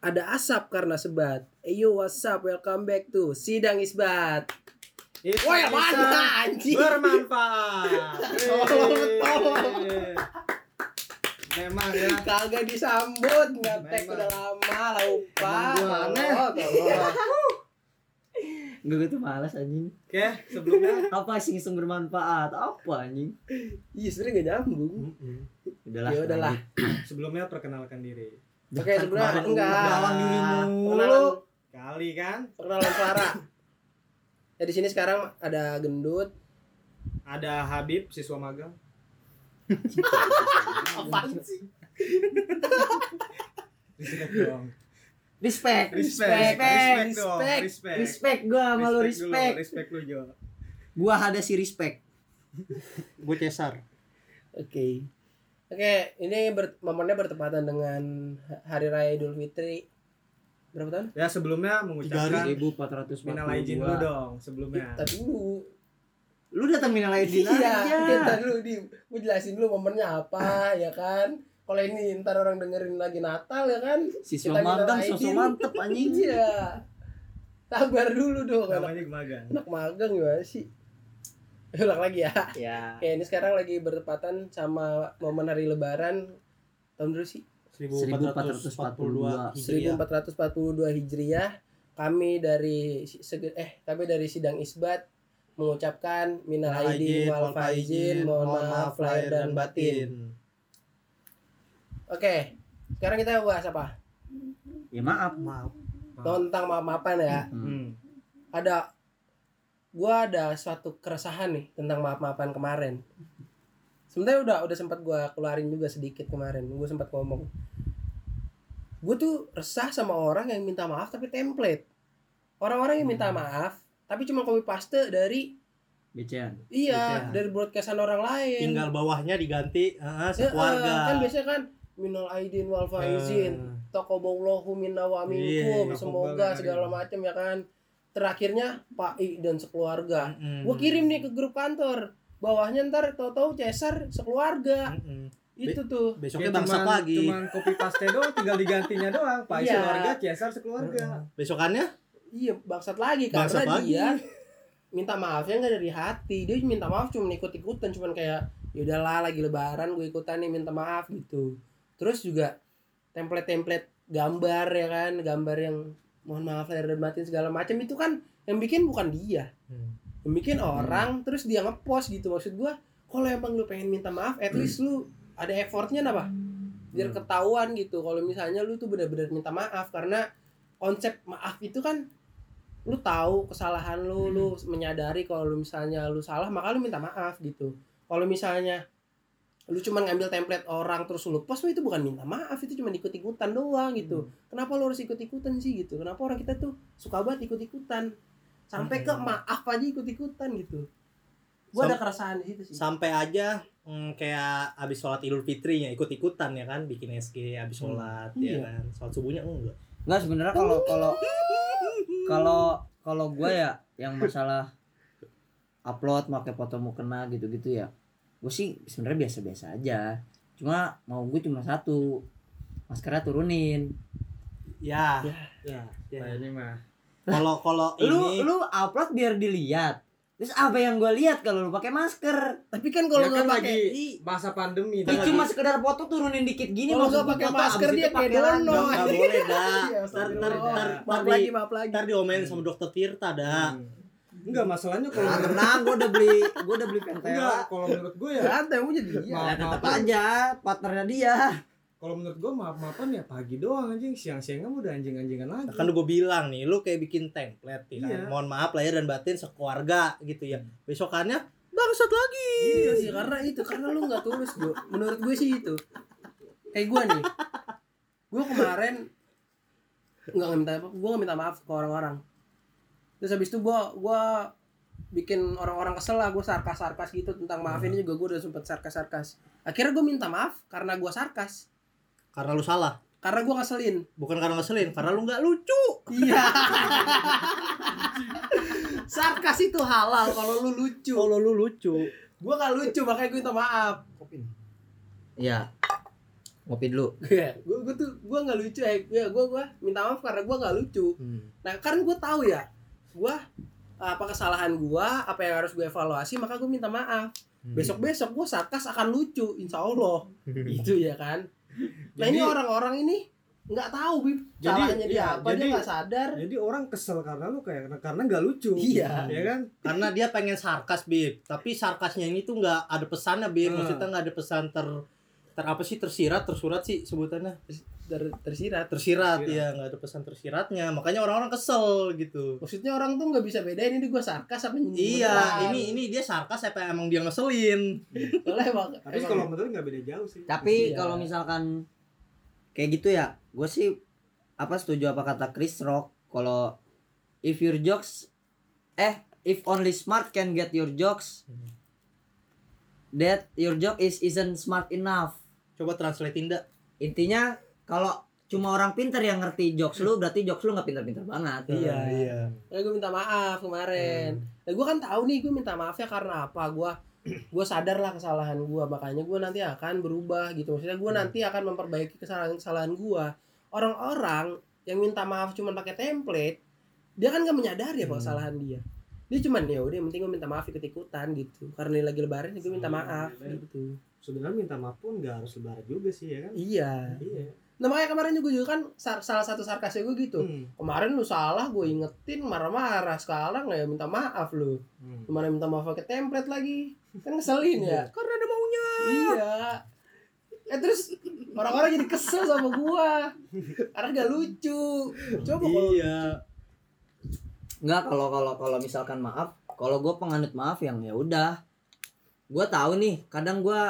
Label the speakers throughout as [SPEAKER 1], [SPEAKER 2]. [SPEAKER 1] ada asap karena sebat. Hey, yo, what's up? Welcome back to Sidang Isbat.
[SPEAKER 2] Itu
[SPEAKER 1] Woi,
[SPEAKER 2] bisa
[SPEAKER 1] mana anjing?
[SPEAKER 2] Bermanfaat.
[SPEAKER 1] Tolong,
[SPEAKER 2] Yeay. Memang ya.
[SPEAKER 1] Kagak disambut, ngetek
[SPEAKER 2] Memang.
[SPEAKER 1] udah lama lah lupa.
[SPEAKER 2] Emang gua aneh.
[SPEAKER 1] Tolong, tolong.
[SPEAKER 3] Enggak gue tuh malas anjing.
[SPEAKER 2] Oke, sebelumnya
[SPEAKER 3] Apa sih yang bermanfaat? Apa anjing?
[SPEAKER 1] Iya, sebenernya gak nyambung.
[SPEAKER 3] Udahlah.
[SPEAKER 1] Ya udahlah.
[SPEAKER 2] sebelumnya perkenalkan diri.
[SPEAKER 1] Oke, sebenernya
[SPEAKER 3] kemarin
[SPEAKER 1] enggak.
[SPEAKER 2] Lawan dirimu.
[SPEAKER 1] Perkenalan,
[SPEAKER 2] Kali kan
[SPEAKER 1] perkenalan suara. Ya di sini sekarang ada gendut.
[SPEAKER 2] ada Habib siswa magang.
[SPEAKER 1] Apaan sih?
[SPEAKER 2] Respect dong.
[SPEAKER 3] Respect.
[SPEAKER 2] Respect,
[SPEAKER 3] Respect.
[SPEAKER 2] respect dong.
[SPEAKER 1] respect,
[SPEAKER 2] Respect.
[SPEAKER 3] Respect gua sama lu
[SPEAKER 2] dulu,
[SPEAKER 3] respect.
[SPEAKER 2] Respect lu Jo.
[SPEAKER 3] Gua ada si respect. Gue Cesar.
[SPEAKER 1] Oke. Oke, ini ber momennya bertepatan dengan Hari Raya Idul Fitri. Berapa tahun?
[SPEAKER 2] Ya sebelumnya mengucapkan
[SPEAKER 3] 3442.
[SPEAKER 2] minal aijin lu dong sebelumnya.
[SPEAKER 1] Tadi dulu.
[SPEAKER 3] Lu datang minal aijin
[SPEAKER 1] Iya, kita
[SPEAKER 3] aja.
[SPEAKER 1] dulu di gua jelasin dulu momennya apa ya kan. Kalau ini ntar orang dengerin lagi Natal ya kan. Kita
[SPEAKER 3] Siswa
[SPEAKER 1] minal
[SPEAKER 3] magang
[SPEAKER 1] aijin.
[SPEAKER 3] sosok mantep anjing.
[SPEAKER 1] Iya. Sabar dulu dong anak,
[SPEAKER 2] Namanya magang.
[SPEAKER 1] anak magang gimana sih? Ulang lagi ya.
[SPEAKER 3] Ya.
[SPEAKER 1] Oke, ini sekarang lagi bertepatan sama momen hari lebaran tahun dulu sih
[SPEAKER 3] 1442
[SPEAKER 1] 1442 Hijriah. Kami dari si- sege- eh kami dari sidang Isbat mengucapkan minal aidin wal faizin, mohon maaf lahir dan batin. Oke, sekarang kita bahas apa?
[SPEAKER 3] Ya maaf. Maaf.
[SPEAKER 1] Iya.
[SPEAKER 2] Maaf.
[SPEAKER 1] Tentang maaf-maafan ya.
[SPEAKER 2] Hmm.
[SPEAKER 1] Ada gua ada suatu keresahan nih tentang maaf-maafan kemarin. Sebenarnya udah udah sempat gua keluarin juga sedikit kemarin. Gua sempat ngomong. Gue tuh resah sama orang yang minta maaf tapi template. Orang-orang yang minta maaf tapi cuma copy paste dari
[SPEAKER 3] Becean.
[SPEAKER 1] iya,
[SPEAKER 4] Iya.
[SPEAKER 1] dari broadcastan orang lain.
[SPEAKER 4] tinggal bawahnya diganti ah,
[SPEAKER 1] Ya, eh, kan
[SPEAKER 4] sekeluarga.
[SPEAKER 1] biasanya kan minal aidin wal faizin. Takobaulahu minna wa minkum
[SPEAKER 4] Iya,
[SPEAKER 1] semoga
[SPEAKER 2] takobal
[SPEAKER 1] segala
[SPEAKER 2] minna.
[SPEAKER 1] macam ya kan terakhirnya Pak I dan sekeluarga
[SPEAKER 4] Mm-mm.
[SPEAKER 1] gua kirim nih ke grup kantor bawahnya ntar tahu-tahu Cesar sekeluarga
[SPEAKER 4] Mm-mm.
[SPEAKER 1] itu tuh
[SPEAKER 4] Besoknya
[SPEAKER 2] Kayak
[SPEAKER 4] bangsat
[SPEAKER 2] Ya, cuman-
[SPEAKER 4] lagi.
[SPEAKER 2] Cuman copy paste doang tinggal digantinya doang. Pak
[SPEAKER 1] Iya.
[SPEAKER 2] sekeluarga, Cesar sekeluarga.
[SPEAKER 4] Besokannya
[SPEAKER 1] iya bangsat lagi
[SPEAKER 4] Bangsat
[SPEAKER 1] karena
[SPEAKER 4] lagi.
[SPEAKER 1] dia minta maafnya nggak dari hati dia minta maaf cuma ikut-ikutan cuman kayak ya udahlah lagi lebaran gue ikutan nih minta maaf gitu terus juga template-template gambar ya kan gambar yang mohon maaf lahir dan batin segala macam itu kan yang bikin bukan dia
[SPEAKER 4] Hmm.
[SPEAKER 1] yang bikin orang terus dia ngepost gitu maksud gua kalau emang lu pengen minta maaf at
[SPEAKER 4] Hmm.
[SPEAKER 1] least lu ada effortnya apa
[SPEAKER 2] Hmm.
[SPEAKER 1] biar ketahuan gitu kalau misalnya lu tuh benar-benar minta maaf karena konsep maaf itu kan lu tahu kesalahan lu lu
[SPEAKER 2] Hmm.
[SPEAKER 1] menyadari kalau lu misalnya lu salah maka lu minta maaf gitu kalau misalnya lu cuma ngambil template orang terus lu post wah, itu bukan minta maaf itu cuma ikut-ikutan doang
[SPEAKER 2] Hmm.
[SPEAKER 1] gitu kenapa lu harus ikut-ikutan sih gitu kenapa orang kita tuh suka banget ikut-ikutan sampai ke
[SPEAKER 4] Hmm.
[SPEAKER 1] maaf aja ikut-ikutan gitu gua
[SPEAKER 4] Sam-
[SPEAKER 1] ada keresahan di situ sih
[SPEAKER 4] sampai aja mm, kayak abis sholat Idul Fitri ya ikut-ikutan ya kan bikin SG abis sholat ya
[SPEAKER 1] Iya.
[SPEAKER 4] kan sholat subuhnya enggak
[SPEAKER 3] Enggak sebenarnya kalau kalau kalau kalau gue ya yang masalah upload pakai foto mukena gitu-gitu ya gue sih sebenarnya biasa-biasa aja cuma mau gue cuma satu maskernya turunin
[SPEAKER 4] ya
[SPEAKER 1] Ya.
[SPEAKER 4] ya, ya.
[SPEAKER 2] Nah, ini mah.
[SPEAKER 4] kalau kalau
[SPEAKER 3] lu
[SPEAKER 4] ini
[SPEAKER 3] lu upload biar dilihat terus apa yang gue lihat kalau lu pakai masker
[SPEAKER 1] tapi kan
[SPEAKER 2] Ya
[SPEAKER 1] kalau nggak
[SPEAKER 2] kan
[SPEAKER 1] pakai
[SPEAKER 2] lagi masa pandemi
[SPEAKER 3] Ini
[SPEAKER 2] dah.
[SPEAKER 3] Ya, cuma sekedar foto turunin dikit gini
[SPEAKER 1] Kalau nggak
[SPEAKER 3] maksud gua
[SPEAKER 1] pakai
[SPEAKER 3] foto,
[SPEAKER 1] masker
[SPEAKER 3] abis
[SPEAKER 1] dia kayak
[SPEAKER 3] itu pakai lagi.
[SPEAKER 1] Dono.
[SPEAKER 4] nggak boleh dah
[SPEAKER 1] Iya,
[SPEAKER 4] ntar
[SPEAKER 1] sorry,
[SPEAKER 4] ntar
[SPEAKER 1] Dono.
[SPEAKER 4] ntar ntar
[SPEAKER 1] maaf
[SPEAKER 4] di
[SPEAKER 1] lagi maaf lagi
[SPEAKER 4] ntar diomelin sama dokter Tirta
[SPEAKER 3] Nah.
[SPEAKER 4] dah
[SPEAKER 2] Hmm. Enggak masalahnya kalau
[SPEAKER 3] Ah,
[SPEAKER 2] menurut
[SPEAKER 3] tenang gue udah beli gue udah beli pentela
[SPEAKER 2] enggak, kalau menurut gue ya
[SPEAKER 1] Santai, emang jadi dia.
[SPEAKER 2] maaf
[SPEAKER 3] tetap
[SPEAKER 2] maafan
[SPEAKER 3] aja partnernya dia
[SPEAKER 2] kalau menurut gue maaf maafan ya pagi doang anjing siang siangnya udah anjing anjingan lagi
[SPEAKER 4] kan gue bilang nih lu kayak bikin template ya kan?
[SPEAKER 2] Iya.
[SPEAKER 4] mohon maaf lahir dan batin sekeluarga gitu ya
[SPEAKER 3] Hmm.
[SPEAKER 4] besokannya bangsat lagi
[SPEAKER 1] Iya sih, karena itu karena lu nggak tulus Jo. Menurut gue sih itu. Kayak gue nih, gue kemarin nggak minta gue nggak minta maaf ke orang-orang. Terus habis itu gue gue bikin orang-orang kesel lah gue sarkas sarkas gitu tentang maaf ini juga gue udah sempet sarkas sarkas akhirnya gue minta maaf karena gue sarkas
[SPEAKER 4] karena lu salah
[SPEAKER 1] karena gue ngeselin
[SPEAKER 4] bukan karena ngeselin karena lu nggak lucu
[SPEAKER 1] iya sarkas itu halal kalau lu lucu
[SPEAKER 4] kalau lu lucu
[SPEAKER 1] gue gak lucu makanya gue minta maaf
[SPEAKER 4] ya
[SPEAKER 3] ngopi dulu
[SPEAKER 2] Iya.
[SPEAKER 1] gue gue tuh gue nggak lucu ya gue gue gue minta maaf karena gue nggak lucu
[SPEAKER 4] Hmm.
[SPEAKER 1] nah karena gue tahu ya gue apa kesalahan gue apa yang harus gue evaluasi maka gue minta maaf
[SPEAKER 2] Hmm.
[SPEAKER 1] besok besok gue sarkas akan lucu insya allah itu ya kan nah ini
[SPEAKER 2] Jadi-
[SPEAKER 1] orang-orang ini nggak tahu bib
[SPEAKER 2] Jadi,
[SPEAKER 1] salahnya dia
[SPEAKER 2] iya,
[SPEAKER 1] apa dia
[SPEAKER 2] jadi-
[SPEAKER 1] nggak sadar
[SPEAKER 2] Jadi orang kesel karena lu kayak karena nggak lucu.
[SPEAKER 1] Iya.
[SPEAKER 2] Ya kan?
[SPEAKER 4] karena dia pengen sarkas bib tapi sarkasnya ini tuh nggak ada pesannya bib
[SPEAKER 2] Hmm.
[SPEAKER 4] maksudnya nggak ada pesan ter ter apa sih tersirat tersurat sih sebutannya
[SPEAKER 1] ter- tersirat
[SPEAKER 4] tersirat
[SPEAKER 2] Tersirat.
[SPEAKER 4] ya nggak ada pesan tersiratnya makanya orang-orang kesel gitu
[SPEAKER 1] maksudnya orang tuh nggak bisa bedain ini gue sarkas apa nyindir
[SPEAKER 4] iya
[SPEAKER 1] beneran.
[SPEAKER 4] ini ini dia sarkas apa emang dia ngeselin
[SPEAKER 1] Soalnya emang-
[SPEAKER 2] Tapi
[SPEAKER 1] emang- ya.
[SPEAKER 2] kalau menurut nggak beda jauh sih.
[SPEAKER 3] tapi
[SPEAKER 1] Iya.
[SPEAKER 3] kalau misalkan kayak gitu ya gue sih apa setuju apa kata Chris Rock kalau if your jokes eh if only smart can get your jokes that your joke is isn't smart enough
[SPEAKER 4] coba translate tindak
[SPEAKER 3] intinya kalau cuma orang pinter yang ngerti jokes lu berarti jokes lu nggak pinter-pinter banget
[SPEAKER 1] Iya.
[SPEAKER 4] iya
[SPEAKER 1] Nah, gue minta maaf kemarin. Nah, gue kan tahu nih gue minta maafnya karena apa? Gue gue sadar lah kesalahan gue, makanya gue nanti akan berubah gitu. Maksudnya gue nanti akan memperbaiki kesalahan-kesalahan gue. Orang-orang yang minta maaf cuma pakai template, dia kan gak menyadari apa
[SPEAKER 4] Hmm.
[SPEAKER 1] kesalahan dia. Dia cuman ya udah, yang penting gue minta maaf ikut ikutan gitu. Karena ini lagi lebaran, gue minta maaf gitu.
[SPEAKER 2] Sebenarnya minta maaf pun nggak harus lebaran juga sih ya kan?
[SPEAKER 1] Iya.
[SPEAKER 2] Iya.
[SPEAKER 1] Nah makanya kemarin juga juga kan sar- salah satu sarkasnya gue gitu.
[SPEAKER 2] Hmm.
[SPEAKER 1] Kemarin lu salah, gue ingetin marah-marah. Sekarang ya minta maaf lu.
[SPEAKER 2] Hmm.
[SPEAKER 1] kemana minta maaf pakai template lagi kan ngeselin ya
[SPEAKER 4] karena ada maunya
[SPEAKER 1] iya eh terus orang-orang jadi kesel sama gua karena gak lucu coba kalau
[SPEAKER 4] iya
[SPEAKER 3] nggak kalau kalau kalau misalkan maaf kalau gue penganut maaf yang ya udah gue tahu nih kadang gue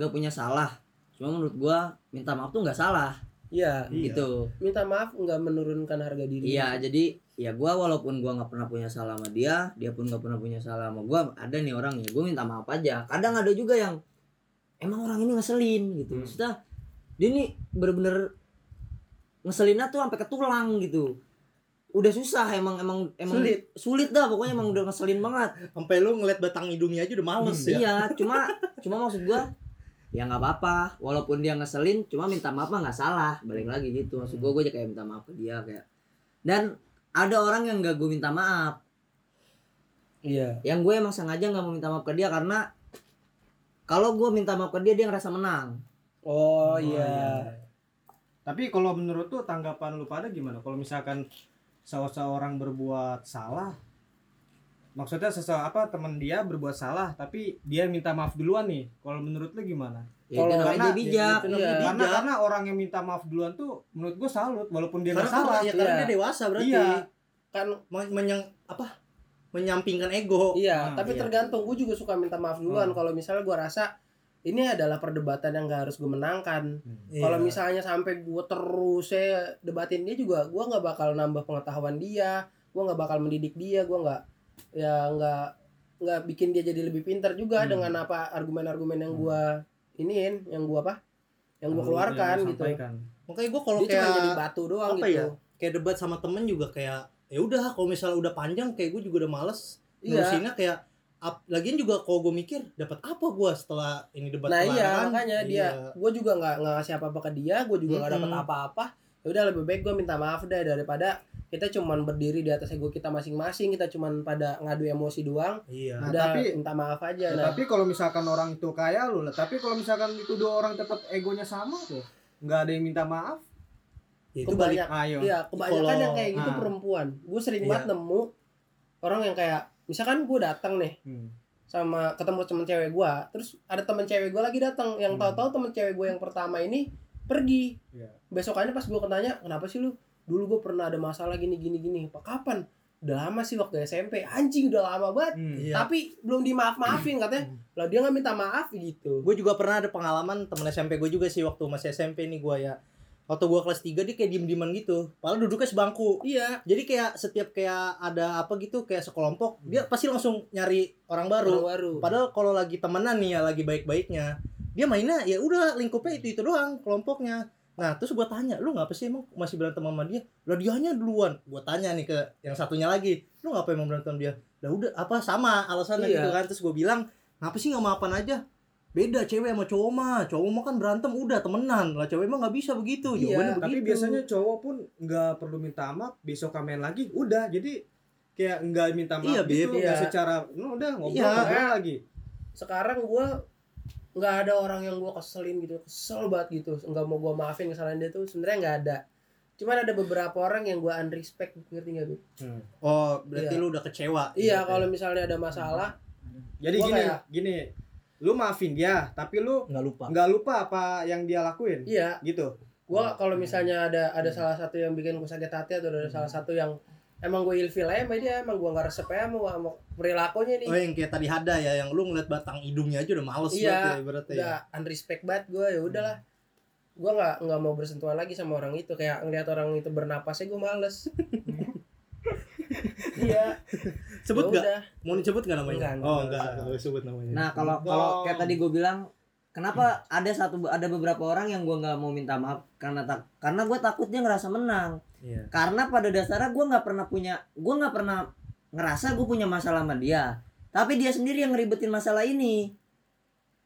[SPEAKER 3] nggak punya salah cuma menurut gue minta maaf tuh nggak salah
[SPEAKER 1] iya
[SPEAKER 4] Iya.
[SPEAKER 3] gitu
[SPEAKER 1] minta maaf nggak menurunkan harga diri gitu.
[SPEAKER 3] iya jadi ya gue walaupun gue nggak pernah punya salah sama dia dia pun nggak pernah punya salah sama gue ada nih orang ya gue minta maaf aja kadang ada juga yang emang orang ini ngeselin gitu
[SPEAKER 2] Hmm.
[SPEAKER 3] maksudnya dia nih bener-bener ngeselinnya tuh sampai ke tulang gitu udah susah emang emang emang
[SPEAKER 1] sulit
[SPEAKER 3] sulit dah pokoknya emang udah ngeselin banget
[SPEAKER 4] sampai lu ngeliat batang hidungnya aja udah males ya
[SPEAKER 3] iya cuma cuma maksud gua ya nggak apa-apa walaupun dia ngeselin cuma minta maaf mah nggak salah balik lagi gitu maksud gua gua aja kayak minta maaf ke dia kayak dan ada orang yang nggak gua minta maaf
[SPEAKER 1] iya
[SPEAKER 3] yang gue emang sengaja nggak mau minta maaf ke dia karena kalau gua minta maaf ke dia dia ngerasa menang
[SPEAKER 1] oh, iya
[SPEAKER 2] Tapi kalau menurut tuh tanggapan lu pada gimana? Kalau misalkan se- seorang berbuat salah, maksudnya sesuatu apa teman dia berbuat salah, tapi dia minta maaf duluan nih. Kalau menurut lu gimana?
[SPEAKER 3] ya, itu
[SPEAKER 1] Kalau
[SPEAKER 3] namanya
[SPEAKER 2] karena-
[SPEAKER 3] dia bijak
[SPEAKER 1] Iya.
[SPEAKER 4] Iya.
[SPEAKER 2] Karena karena orang yang minta maaf duluan tuh menurut gue salut, walaupun dia
[SPEAKER 4] karena
[SPEAKER 2] nggak salah.
[SPEAKER 4] ya, karena
[SPEAKER 1] Iya.
[SPEAKER 4] dia dewasa berarti
[SPEAKER 2] Iya.
[SPEAKER 1] kan
[SPEAKER 4] Men- menyang apa menyampingkan ego
[SPEAKER 1] iya Ah.
[SPEAKER 2] Ah,
[SPEAKER 1] tapi
[SPEAKER 3] iya.
[SPEAKER 1] tergantung gua juga suka minta maaf duluan
[SPEAKER 2] Hmm.
[SPEAKER 1] kalau misalnya gua rasa ini adalah perdebatan yang gak harus gue menangkan.
[SPEAKER 4] Iya.
[SPEAKER 1] Kalau misalnya sampai gue terus saya debatin dia juga, gue nggak bakal nambah pengetahuan dia, gue nggak bakal mendidik dia, gue nggak ya nggak nggak bikin dia jadi lebih pintar juga
[SPEAKER 2] Hmm.
[SPEAKER 1] dengan apa argumen-argumen yang
[SPEAKER 2] Hmm.
[SPEAKER 1] gue iniin, yang gue apa, yang gue keluarkan
[SPEAKER 2] Yang
[SPEAKER 1] gitu.
[SPEAKER 2] sampaikan.
[SPEAKER 4] makanya gue kalau
[SPEAKER 1] Dia cuma
[SPEAKER 4] kayak
[SPEAKER 1] jadi batu doang
[SPEAKER 4] apa
[SPEAKER 1] gitu.
[SPEAKER 4] ya? kayak debat sama temen juga kayak ya udah kalau misalnya udah panjang kayak gue juga udah males
[SPEAKER 1] Iya.
[SPEAKER 4] ngurusinnya kayak ap- lagian juga kalau gue mikir dapat apa gue setelah ini debat
[SPEAKER 1] Nah iya
[SPEAKER 4] kemarin?
[SPEAKER 1] makanya dia,
[SPEAKER 4] Iya.
[SPEAKER 1] gue juga nggak nggak ngasih apa-apa ke dia, gue juga nggak dapat
[SPEAKER 4] Mm-mm.
[SPEAKER 1] apa-apa. Ya udah lebih baik gue minta maaf deh daripada kita cuman berdiri di atas ego kita masing-masing, kita cuman pada ngadu emosi doang.
[SPEAKER 4] iya
[SPEAKER 2] Nah,
[SPEAKER 1] udah
[SPEAKER 2] tapi-
[SPEAKER 1] minta maaf aja
[SPEAKER 2] Ya,
[SPEAKER 1] nah.
[SPEAKER 2] tapi kalau misalkan orang itu kaya lu lah, tapi kalau misalkan itu dua orang tetap egonya sama tuh, nggak ada yang minta maaf.
[SPEAKER 4] Ya, itu balik
[SPEAKER 1] kebanyak
[SPEAKER 2] Ayo.
[SPEAKER 1] iya kebanyakan
[SPEAKER 4] Kalau-
[SPEAKER 1] yang kayak gitu
[SPEAKER 2] ah.
[SPEAKER 1] perempuan gue sering
[SPEAKER 4] Iya.
[SPEAKER 1] banget nemu orang yang kayak misalkan gue datang nih
[SPEAKER 2] Hmm.
[SPEAKER 1] sama ketemu temen cewek gue terus ada temen cewek gue lagi datang yang
[SPEAKER 2] Hmm.
[SPEAKER 1] tahu-tahu temen cewek gue yang pertama ini pergi
[SPEAKER 2] Iya.
[SPEAKER 1] besokannya pas gue tanya kenapa sih lu dulu gue pernah ada masalah gini gini gini pak kapan udah lama sih waktu SMP anjing udah lama banget
[SPEAKER 2] Hmm.
[SPEAKER 4] Iya.
[SPEAKER 1] tapi belum dimaaf maafin katanya lah dia nggak minta maaf gitu
[SPEAKER 4] gue juga pernah ada pengalaman temen SMP gue juga sih waktu masih SMP nih gue ya waktu gue kelas 3 dia kayak diem-dieman gitu padahal duduknya sebangku
[SPEAKER 1] iya
[SPEAKER 4] jadi kayak setiap kayak ada apa gitu kayak sekelompok dia
[SPEAKER 1] Hmm.
[SPEAKER 4] pasti langsung nyari orang baru
[SPEAKER 1] baru baru
[SPEAKER 4] Padahal kalau lagi temenan nih ya lagi baik-baiknya, dia mainnya ya udah lingkupnya itu itu doang kelompoknya. Nah terus gua tanya, lu ngapa sih emang masih berantem sama dia? Lah dianya duluan. Gua tanya nih ke yang satunya lagi, lu ngapa emang berantem sama dia? Lah udah apa sama alasannya
[SPEAKER 1] Iya.
[SPEAKER 4] gitu kan? Terus gua bilang, ngapa sih nggak maafan aja? beda cewek sama cowok mah cowok mah kan berantem udah temenan lah cewek mah nggak bisa begitu
[SPEAKER 1] Iya,
[SPEAKER 4] jawabannya
[SPEAKER 2] tapi
[SPEAKER 4] begitu
[SPEAKER 2] biasanya cowok pun nggak perlu minta maaf besok kamen lagi udah jadi kayak nggak minta maaf
[SPEAKER 4] Iya,
[SPEAKER 2] gitu
[SPEAKER 1] Beb,
[SPEAKER 2] nggak
[SPEAKER 1] iya.
[SPEAKER 2] secara "Nu, udah ngobrol,
[SPEAKER 4] Iya.
[SPEAKER 2] ngobrol lagi
[SPEAKER 1] sekarang gua nggak ada orang yang gua keselin gitu kesel banget gitu nggak mau gua maafin kesalahan dia tuh sebenarnya nggak ada cuman ada beberapa orang yang gua unrespect ngerti nggak Bib?
[SPEAKER 4] oh berarti
[SPEAKER 1] Iya.
[SPEAKER 4] lu udah kecewa
[SPEAKER 1] iya
[SPEAKER 4] Gitu.
[SPEAKER 1] kalau misalnya ada masalah
[SPEAKER 2] jadi
[SPEAKER 1] Gua
[SPEAKER 2] gini
[SPEAKER 1] kayak-
[SPEAKER 2] gini lu maafin dia tapi lu
[SPEAKER 4] nggak lupa
[SPEAKER 2] nggak lupa apa yang dia lakuin
[SPEAKER 1] iya Iya.
[SPEAKER 2] gitu
[SPEAKER 1] gua kalau misalnya ada ada salah satu yang bikin gue sakit hati atau ada salah satu yang emang gue ilfil aja sama dia emang gua nggak resep aja sama, sama perilakunya nih
[SPEAKER 4] Oh yang kayak tadi Hada ya, yang lu ngeliat batang hidungnya aja udah males
[SPEAKER 1] Iya,
[SPEAKER 4] banget ya ibaratnya ya.
[SPEAKER 1] udah unrespect banget gue ya udahlah gua nggak nggak mau bersentuhan lagi sama orang itu kayak ngelihat orang itu bernapasnya gue males iya ya
[SPEAKER 4] Sebut gak?
[SPEAKER 1] udah.
[SPEAKER 4] Mau disebut gak namanya?
[SPEAKER 1] Enggak,
[SPEAKER 4] oh
[SPEAKER 1] enggak.
[SPEAKER 4] enggak, enggak boleh sebut namanya
[SPEAKER 3] Nah kalau
[SPEAKER 2] Dong.
[SPEAKER 3] kalau kayak tadi gue bilang, kenapa
[SPEAKER 4] Hmm.
[SPEAKER 3] ada satu ada beberapa orang yang gue nggak mau minta maaf karena tak karena gue takut dia ngerasa menang.
[SPEAKER 4] Iya.
[SPEAKER 3] Karena pada dasarnya gue nggak pernah punya gue nggak pernah ngerasa gue punya masalah sama dia. Tapi dia sendiri yang ngeribetin masalah ini.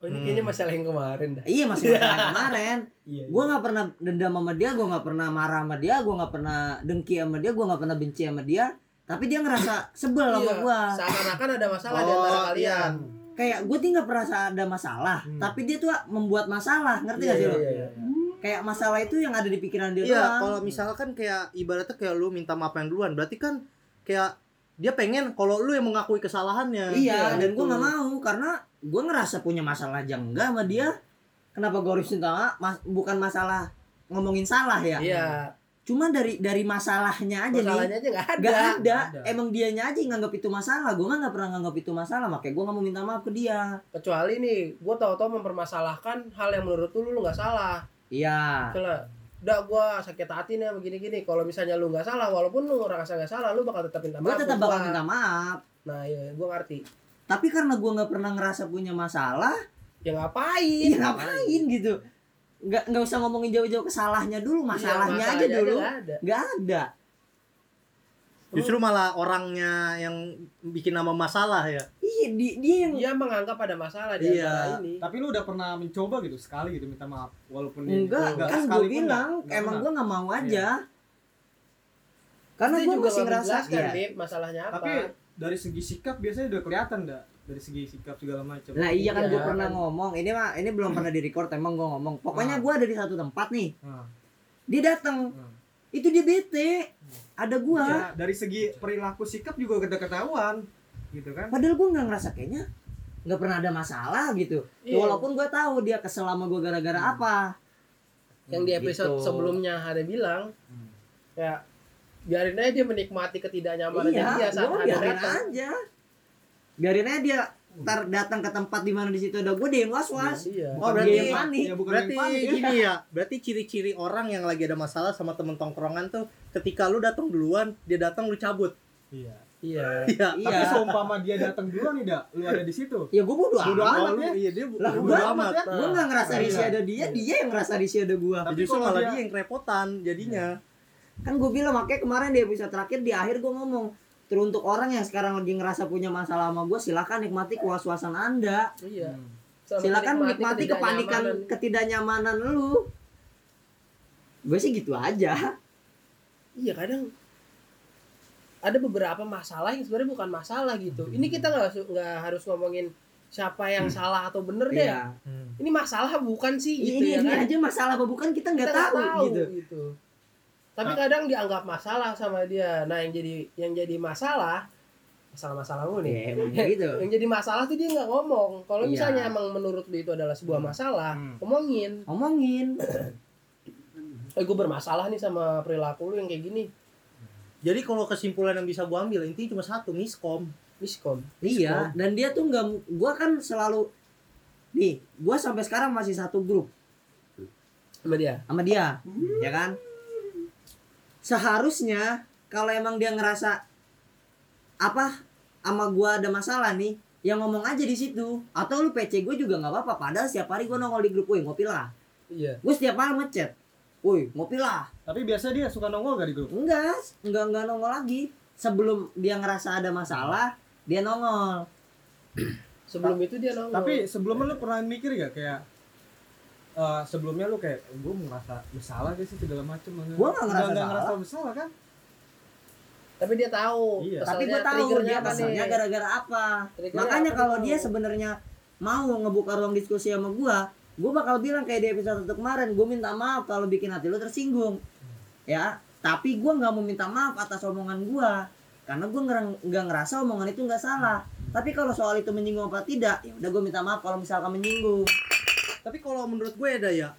[SPEAKER 1] Oh, ini
[SPEAKER 4] Hmm.
[SPEAKER 1] kayaknya masalah yang kemarin dah
[SPEAKER 3] Iya masih masalah kemarin.
[SPEAKER 2] iya
[SPEAKER 3] Gue nggak pernah dendam sama dia, gue nggak pernah marah sama dia, gue nggak pernah dengki sama dia, gue nggak pernah benci sama dia. Tapi dia ngerasa sebel sama
[SPEAKER 1] Iya,
[SPEAKER 3] gue.
[SPEAKER 1] seakan-akan ada masalah di antara
[SPEAKER 4] Oh, iya.
[SPEAKER 1] kalian
[SPEAKER 3] Kayak gue tuh nggak pernah ada masalah,
[SPEAKER 2] Hmm.
[SPEAKER 3] tapi dia tuh membuat masalah, ngerti
[SPEAKER 1] Iya,
[SPEAKER 3] gak sih
[SPEAKER 1] iya,
[SPEAKER 3] lo?
[SPEAKER 1] iya,
[SPEAKER 2] gitu.
[SPEAKER 1] iya.
[SPEAKER 3] kayak masalah itu yang ada di pikiran dia
[SPEAKER 4] Iya,
[SPEAKER 3] doang.
[SPEAKER 4] kalau misalkan kayak ibaratnya kayak lu minta maaf yang duluan, berarti kan kayak dia pengen kalau lu yang mengakui kesalahannya.
[SPEAKER 3] iya, dan gue
[SPEAKER 4] gitu.
[SPEAKER 3] nggak mau karena gue ngerasa punya masalah aja enggak sama dia. Kenapa gue harus minta maaf? Mas- bukan masalah ngomongin salah ya.
[SPEAKER 1] iya
[SPEAKER 3] Cuma dari dari masalahnya aja nih.
[SPEAKER 1] masalahnya aja nggak ada
[SPEAKER 3] Gak ada.
[SPEAKER 2] Ada.
[SPEAKER 3] emang dianya aja yang nganggap itu masalah. Gue nggak pernah nganggap itu masalah, makanya gue nggak mau minta maaf ke dia.
[SPEAKER 1] kecuali nih gue tau-tau mempermasalahkan hal yang menurut lu lu nggak salah
[SPEAKER 3] Iya,
[SPEAKER 1] Misalnya, udah gue sakit hati nih begini gini kalau misalnya lu nggak salah walaupun lu ngerasa nggak salah lu bakal tetap minta
[SPEAKER 3] gue
[SPEAKER 1] maaf
[SPEAKER 3] tetap
[SPEAKER 1] ke
[SPEAKER 3] bakal
[SPEAKER 1] gua.
[SPEAKER 3] minta maaf.
[SPEAKER 1] nah iya gue ngerti
[SPEAKER 3] Tapi karena gue nggak pernah ngerasa punya masalah,
[SPEAKER 1] ya ngapain
[SPEAKER 3] ya ngapain gitu? Nggak nggak usah ngomongin jauh-jauh kesalahnya dulu, masalahnya aja
[SPEAKER 1] Iya, masalahnya kan?
[SPEAKER 3] dulu.
[SPEAKER 1] nggak ada.
[SPEAKER 3] Nggak ada.
[SPEAKER 2] Oh.
[SPEAKER 4] Justru malah orangnya yang bikin nama masalah ya.
[SPEAKER 3] Iya, di, dia yang
[SPEAKER 1] dia menganggap ada masalah di
[SPEAKER 4] Iya.
[SPEAKER 1] antara ini
[SPEAKER 2] tapi lu udah pernah mencoba gitu sekali gitu minta maaf walaupun ini-
[SPEAKER 3] enggak, kan gue
[SPEAKER 2] gitu. sekalipun
[SPEAKER 3] bilang
[SPEAKER 2] enggak, enggak
[SPEAKER 3] emang
[SPEAKER 2] pernah.
[SPEAKER 3] gue nggak mau aja. Karena
[SPEAKER 1] Dia
[SPEAKER 3] gue
[SPEAKER 1] juga
[SPEAKER 3] masih
[SPEAKER 1] nggak ya.
[SPEAKER 3] ngerasa
[SPEAKER 1] menjelaskan,
[SPEAKER 3] iya.
[SPEAKER 1] Bib, masalahnya apa Iya.
[SPEAKER 2] tapi dari segi sikap biasanya udah kelihatan dah dari segi sikap segala macam
[SPEAKER 3] Nah iya kan gue
[SPEAKER 1] Iya.
[SPEAKER 3] pernah ngomong ini mah ini belum pernah di record emang gue ngomong pokoknya gue ada di satu tempat nih
[SPEAKER 2] Nah,
[SPEAKER 3] dia datang
[SPEAKER 2] nah.
[SPEAKER 3] itu dia bete ada gue
[SPEAKER 2] Ya, dari segi perilaku sikap juga udah ketahuan gitu kan
[SPEAKER 3] padahal gue nggak ngerasa kayaknya nggak pernah ada masalah gitu
[SPEAKER 1] Iya.
[SPEAKER 3] walaupun gue tahu dia kesel sama gue gara-gara
[SPEAKER 2] Hmm.
[SPEAKER 3] apa
[SPEAKER 1] yang di episode
[SPEAKER 3] Gitu.
[SPEAKER 1] sebelumnya ada bilang
[SPEAKER 2] Hmm.
[SPEAKER 1] ya biarin aja dia menikmati ketidaknyamanan
[SPEAKER 3] iya
[SPEAKER 1] dia
[SPEAKER 3] gue
[SPEAKER 1] saat
[SPEAKER 3] mah
[SPEAKER 1] ada
[SPEAKER 3] biarin
[SPEAKER 1] datang
[SPEAKER 3] aja biarin aja dia ntar datang ke tempat di mana di situ ada gue dia yang was was
[SPEAKER 1] iya
[SPEAKER 4] Oh,
[SPEAKER 2] Bukan
[SPEAKER 4] berarti-
[SPEAKER 2] dia yang panik. Ya, bukan
[SPEAKER 4] Berarti
[SPEAKER 2] yang panik, ya.
[SPEAKER 4] gini ya, berarti ciri-ciri orang yang lagi ada masalah sama temen tongkrongan tuh ketika lu datang duluan, dia datang lu cabut.
[SPEAKER 2] Iya.
[SPEAKER 1] iya
[SPEAKER 4] Iya.
[SPEAKER 3] Iya.
[SPEAKER 2] Tapi seumpama dia datang duluan nih, Da, lu ada di situ.
[SPEAKER 3] ya gue bodo
[SPEAKER 2] Bodo
[SPEAKER 3] amat
[SPEAKER 2] amat
[SPEAKER 4] Lu-
[SPEAKER 2] ya.
[SPEAKER 4] Iya, dia bu-
[SPEAKER 3] Lah,
[SPEAKER 4] bodo
[SPEAKER 3] gua-
[SPEAKER 4] amat.
[SPEAKER 2] ya.
[SPEAKER 3] gue nggak ngerasa
[SPEAKER 2] Iya.
[SPEAKER 3] risih ada dia dia yang ngerasa risih ada gue
[SPEAKER 4] Tapi
[SPEAKER 2] Tapi
[SPEAKER 4] justru
[SPEAKER 2] kalau
[SPEAKER 4] malah
[SPEAKER 2] dia- Iya.
[SPEAKER 4] dia yang kerepotan jadinya.
[SPEAKER 3] kan gue bilang makanya kemarin di episode terakhir di akhir gue ngomong teruntuk orang yang sekarang lagi ngerasa punya masalah sama gue silakan nikmati kewas-wasan anda
[SPEAKER 1] iya
[SPEAKER 2] Hmm.
[SPEAKER 1] Sama
[SPEAKER 3] silakan menikmati
[SPEAKER 1] ketidaknyamanan.
[SPEAKER 3] kepanikan ketidaknyamanan lu gue sih gitu aja
[SPEAKER 1] iya kadang ada beberapa masalah yang sebenarnya bukan masalah gitu ini
[SPEAKER 3] Hmm.
[SPEAKER 1] kita nggak su- nggak harus ngomongin siapa yang salah atau bener deh
[SPEAKER 3] Iya.
[SPEAKER 1] ini masalah bukan sih gitu
[SPEAKER 3] ini
[SPEAKER 1] ya
[SPEAKER 3] ini
[SPEAKER 1] kan
[SPEAKER 3] aja masalah apa bukan
[SPEAKER 1] Kita
[SPEAKER 3] kita nggak tahu, gitu
[SPEAKER 1] tapi kadang dianggap masalah sama dia nah yang jadi yang jadi masalah masalah masalah lu nih
[SPEAKER 3] ya emang gitu
[SPEAKER 1] yang jadi masalah tuh dia nggak ngomong kalau
[SPEAKER 3] Iya.
[SPEAKER 1] misalnya emang menurut lu itu adalah sebuah masalah
[SPEAKER 2] Hmm.
[SPEAKER 1] ngomongin
[SPEAKER 3] ngomongin
[SPEAKER 1] eh gue bermasalah nih sama perilaku lu yang kayak gini
[SPEAKER 4] Jadi kalau kesimpulan yang bisa gua ambil intinya cuma satu, miskom.
[SPEAKER 1] miskom
[SPEAKER 3] Iya, dan dia tuh nggak, gua kan selalu, nih, gua sampai sekarang masih satu grup
[SPEAKER 1] sama dia
[SPEAKER 3] sama dia,
[SPEAKER 1] Hmm.
[SPEAKER 3] ya kan? Seharusnya kalau emang dia ngerasa apa sama gua ada masalah nih, yang ngomong aja di situ. Atau lu PC gue juga nggak apa-apa. Padahal setiap hari gua nongol di grup, woi ngopi lah.
[SPEAKER 1] iya
[SPEAKER 3] Gue setiap hari ngechat, woi ngopi lah.
[SPEAKER 2] Tapi biasanya dia suka nongol gak di grup?
[SPEAKER 3] Enggak, enggak enggak nongol lagi. Sebelum dia ngerasa ada masalah, dia nongol.
[SPEAKER 1] sebelum itu dia nongol
[SPEAKER 2] Tapi sebelumnya lu pernah mikir gak kayak eh, sebelumnya lu kayak gue merasa bersalah gak sih segala macem
[SPEAKER 3] Gua nggak ngerasa
[SPEAKER 2] Nggak- nggak
[SPEAKER 3] salah.
[SPEAKER 2] ngerasa bersalah kan
[SPEAKER 1] tapi dia tahu
[SPEAKER 2] Iya.
[SPEAKER 3] tapi
[SPEAKER 1] Pasalnya
[SPEAKER 3] gue tahu
[SPEAKER 1] triggernya
[SPEAKER 3] dia
[SPEAKER 1] apa nih?
[SPEAKER 3] pasalnya gara-gara apa
[SPEAKER 1] Triggernya
[SPEAKER 3] makanya
[SPEAKER 1] apa
[SPEAKER 3] kalau
[SPEAKER 1] tuh?
[SPEAKER 3] dia sebenarnya mau ngebuka ruang diskusi sama gue gue bakal bilang kayak di episode satu kemarin gue minta maaf kalau bikin hati lu tersinggung ya tapi gue nggak mau minta maaf atas omongan gue karena gue nggak ngerasa omongan itu nggak salah tapi kalau soal itu menyinggung apa tidak ya udah gue minta maaf kalau misalkan menyinggung
[SPEAKER 4] tapi kalau menurut gue ada ya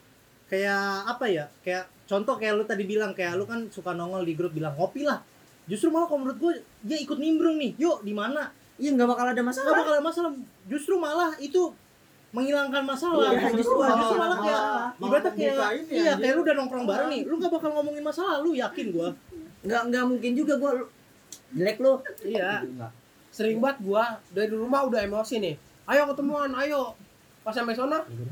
[SPEAKER 4] kayak apa ya kayak contoh kayak lu tadi bilang kayak lu kan suka nongol di grup bilang ngopi lah justru malah kalau menurut gue dia ikut nimbrung nih yuk di mana
[SPEAKER 3] iya nggak bakal ada
[SPEAKER 4] nggak
[SPEAKER 3] masalah
[SPEAKER 4] bakal ada masalah justru malah itu menghilangkan masalah
[SPEAKER 3] Iya,
[SPEAKER 4] justru,
[SPEAKER 3] justru
[SPEAKER 4] malah,
[SPEAKER 3] malah-
[SPEAKER 4] justru malah kayak
[SPEAKER 3] malah-
[SPEAKER 4] ibaratnya
[SPEAKER 2] malah
[SPEAKER 4] kayak
[SPEAKER 2] ngebukain ya,
[SPEAKER 4] iya
[SPEAKER 2] anjing.
[SPEAKER 4] kayak lu udah nongkrong bareng nih lu gak bakal ngomongin masalah lu yakin gue
[SPEAKER 3] nggak nggak mungkin juga gue jelek lu
[SPEAKER 1] iya sering banget gua dari rumah udah emosi nih ayo ketemuan ayo pas sampai sana
[SPEAKER 3] Iya.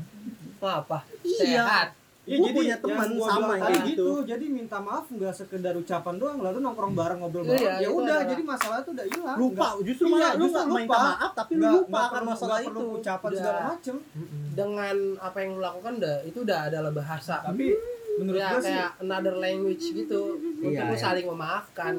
[SPEAKER 1] wah apa
[SPEAKER 4] Iya.
[SPEAKER 1] sehat
[SPEAKER 2] Iya
[SPEAKER 4] Gua
[SPEAKER 2] jadi
[SPEAKER 4] punya teman
[SPEAKER 2] yang gua
[SPEAKER 4] sama
[SPEAKER 2] bilang tadi
[SPEAKER 4] kayak
[SPEAKER 2] gitu.
[SPEAKER 4] gitu.
[SPEAKER 2] Jadi minta maaf nggak sekedar ucapan doang lalu nongkrong bareng ngobrol
[SPEAKER 1] Iya,
[SPEAKER 2] bareng.
[SPEAKER 1] itu
[SPEAKER 2] ya udah
[SPEAKER 1] adalah-
[SPEAKER 2] jadi masalah itu udah hilang.
[SPEAKER 4] lupa justru
[SPEAKER 2] Iya,
[SPEAKER 4] malah lu
[SPEAKER 2] justru
[SPEAKER 4] gak main
[SPEAKER 2] lupa.
[SPEAKER 4] maaf tapi lu
[SPEAKER 2] Nggak-
[SPEAKER 4] lupa
[SPEAKER 2] nggak
[SPEAKER 4] akan
[SPEAKER 2] perlu-
[SPEAKER 4] masalah
[SPEAKER 2] nggak
[SPEAKER 4] itu
[SPEAKER 2] perlu ucapan
[SPEAKER 1] Udah.
[SPEAKER 2] segala macem.
[SPEAKER 1] dengan apa yang lu lakukan udah itu udah adalah bahasa
[SPEAKER 2] Tapi menurut
[SPEAKER 1] ya
[SPEAKER 2] gua sih
[SPEAKER 1] kayak another language gitu untuk
[SPEAKER 3] Iya,
[SPEAKER 1] lu
[SPEAKER 3] iya.
[SPEAKER 1] saling memaafkan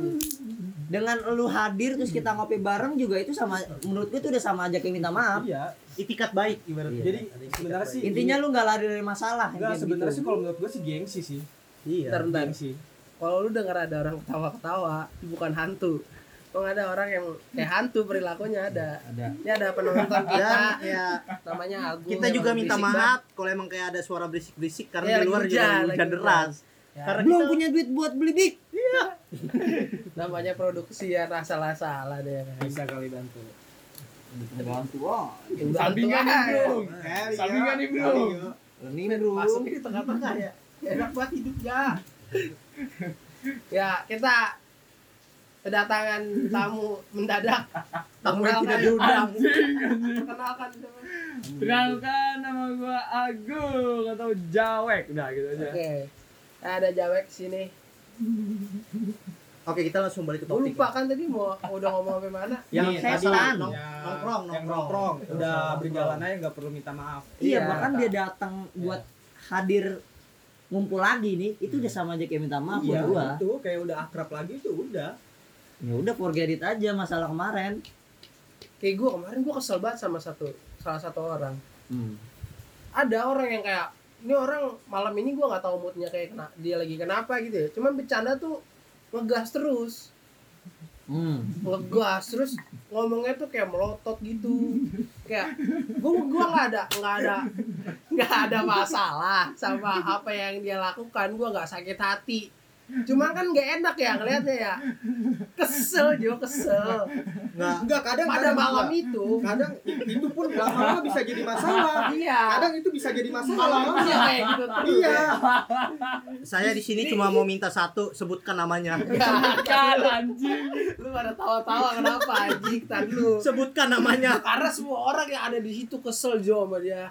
[SPEAKER 3] dengan lu hadir terus kita ngopi bareng juga itu sama menurut gue itu udah sama aja kayak minta maaf
[SPEAKER 2] iya.
[SPEAKER 4] itikat baik ibaratnya
[SPEAKER 2] Jadi sebenarnya sih
[SPEAKER 3] intinya lu nggak lari dari masalah
[SPEAKER 2] Enggak
[SPEAKER 3] kayak
[SPEAKER 2] sebenarnya
[SPEAKER 3] gitu.
[SPEAKER 2] sih kalau menurut gua sih gengsi sih.
[SPEAKER 4] iya
[SPEAKER 1] bentar bentar
[SPEAKER 2] Gengsi.
[SPEAKER 1] kalau lu dengar ada orang ketawa-ketawa bukan hantu kalau ada orang yang kayak hantu perilakunya ada
[SPEAKER 2] Ada.
[SPEAKER 1] ini ada penonton
[SPEAKER 4] dan
[SPEAKER 1] kita
[SPEAKER 4] ya
[SPEAKER 1] namanya Agung
[SPEAKER 4] kita
[SPEAKER 1] yang
[SPEAKER 4] juga
[SPEAKER 1] orang
[SPEAKER 4] minta
[SPEAKER 1] Iya, berisik
[SPEAKER 4] maaf kalau emang kayak ada suara berisik-berisik
[SPEAKER 1] Iya,
[SPEAKER 4] karena di
[SPEAKER 1] lagi
[SPEAKER 4] luar
[SPEAKER 1] hujan,
[SPEAKER 4] juga
[SPEAKER 1] lagi
[SPEAKER 4] hujan
[SPEAKER 1] hujan.
[SPEAKER 4] deras
[SPEAKER 1] Ya.
[SPEAKER 4] karena
[SPEAKER 3] belum
[SPEAKER 4] kita
[SPEAKER 3] punya duit buat beli big
[SPEAKER 1] banget. namanya produksi ya rasa salah salah deh
[SPEAKER 2] Bisa kali bantu.
[SPEAKER 1] Sampingan
[SPEAKER 2] Sampingan nih bro.
[SPEAKER 1] Masuknya di tengah-tengah ya. Enak banget hidup ya. ya, kita kedatangan tamu mendadak.
[SPEAKER 4] tamu yang tidak
[SPEAKER 1] Perkenalkan-
[SPEAKER 4] diundang
[SPEAKER 1] Perkenalkan dulu.
[SPEAKER 2] Kenalkan nama gua Agung atau Jawek udah gitu aja.
[SPEAKER 1] Oke. Ada Jawek sini.
[SPEAKER 4] oke kita langsung balik ke
[SPEAKER 1] Gue
[SPEAKER 4] topik
[SPEAKER 1] lupa kan tadi mau udah ngomong sampai mana?
[SPEAKER 2] Yang
[SPEAKER 4] Nih,
[SPEAKER 2] tadi
[SPEAKER 4] setan.
[SPEAKER 2] nong-
[SPEAKER 4] Ya,
[SPEAKER 2] nongkrong,
[SPEAKER 4] yang
[SPEAKER 2] Iya. nongkrong, udah
[SPEAKER 4] Nongkrong.
[SPEAKER 2] berjalan aja nggak perlu minta maaf.
[SPEAKER 3] iya
[SPEAKER 1] Iya,
[SPEAKER 3] bahkan
[SPEAKER 2] Kak. Iya.
[SPEAKER 3] dia datang buat hadir ngumpul lagi nih itu udah sama aja kayak minta maaf
[SPEAKER 2] Hmm. iya,
[SPEAKER 3] buat gua
[SPEAKER 2] itu kayak udah akrab lagi itu udah.
[SPEAKER 3] ya udah forget it aja masalah kemarin
[SPEAKER 1] Kayak gue kemarin gue kesel banget sama satu salah satu orang. Ada orang yang kayak ini orang malam ini gue nggak tahu moodnya kayak kena, dia lagi kenapa gitu ya. Cuman bercanda tuh ngegas terus.
[SPEAKER 3] Hmm.
[SPEAKER 1] ngegas terus ngomongnya tuh kayak melotot gitu kayak gua gua nggak ada nggak ada nggak ada masalah sama apa yang dia lakukan gua nggak sakit hati cuman kan nggak enak ya ngeliatnya ya kesel jo kesel
[SPEAKER 2] Nah, enggak kadang
[SPEAKER 1] pada
[SPEAKER 2] kadang
[SPEAKER 1] malam
[SPEAKER 2] juga.
[SPEAKER 1] itu
[SPEAKER 2] kadang itu pun lama-lama bisa jadi masalah.
[SPEAKER 1] iya
[SPEAKER 2] Kadang itu bisa jadi masalah.
[SPEAKER 1] malam itu kayak gitu terus.
[SPEAKER 2] Iya.
[SPEAKER 4] saya di sini cuma mau minta satu sebutkan namanya
[SPEAKER 1] Bukan anjing Lu pada tawa-tawa kenapa anjing Tadi lu
[SPEAKER 4] sebutkan namanya
[SPEAKER 1] Karena semua orang yang ada di situ kesel Jo sama dia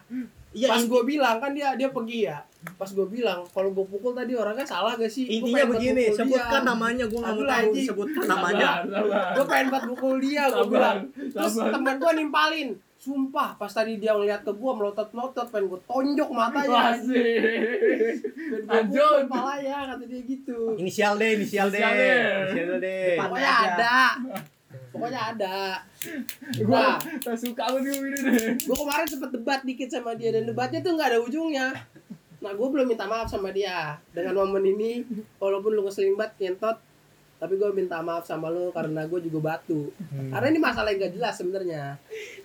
[SPEAKER 4] ya
[SPEAKER 1] pas
[SPEAKER 4] inti-
[SPEAKER 1] gue bilang kan dia dia pergi ya pas gue bilang kalau gue pukul tadi orangnya salah gak sih
[SPEAKER 4] intinya begini sebutkan namanya gue nggak
[SPEAKER 1] iya.
[SPEAKER 4] mau
[SPEAKER 1] Aduh,
[SPEAKER 4] tahu
[SPEAKER 1] anjing.
[SPEAKER 4] sebutkan namanya
[SPEAKER 1] gue pengen buat pukul dia gue bilang terus teman gue nimpalin sumpah pas tadi dia ngeliat ke gue melotot melotot pengen gue tonjok matanya pengen gue pukul kepalanya kata dia gitu
[SPEAKER 4] inisial deh inisial deh
[SPEAKER 5] Inisial deh.
[SPEAKER 4] inisial deh
[SPEAKER 5] Depan.
[SPEAKER 1] pokoknya
[SPEAKER 5] aja.
[SPEAKER 1] ada pokoknya ada nah
[SPEAKER 5] Gua- Nah, suka banget gue ini deh.
[SPEAKER 1] gue kemarin sempet debat dikit sama dia dan debatnya tuh nggak ada ujungnya nah gue belum minta maaf sama dia dengan momen ini walaupun lu ngeselin banget nyentot tapi gue minta maaf sama lu karena gue juga batu karena ini masalah yang gak jelas sebenarnya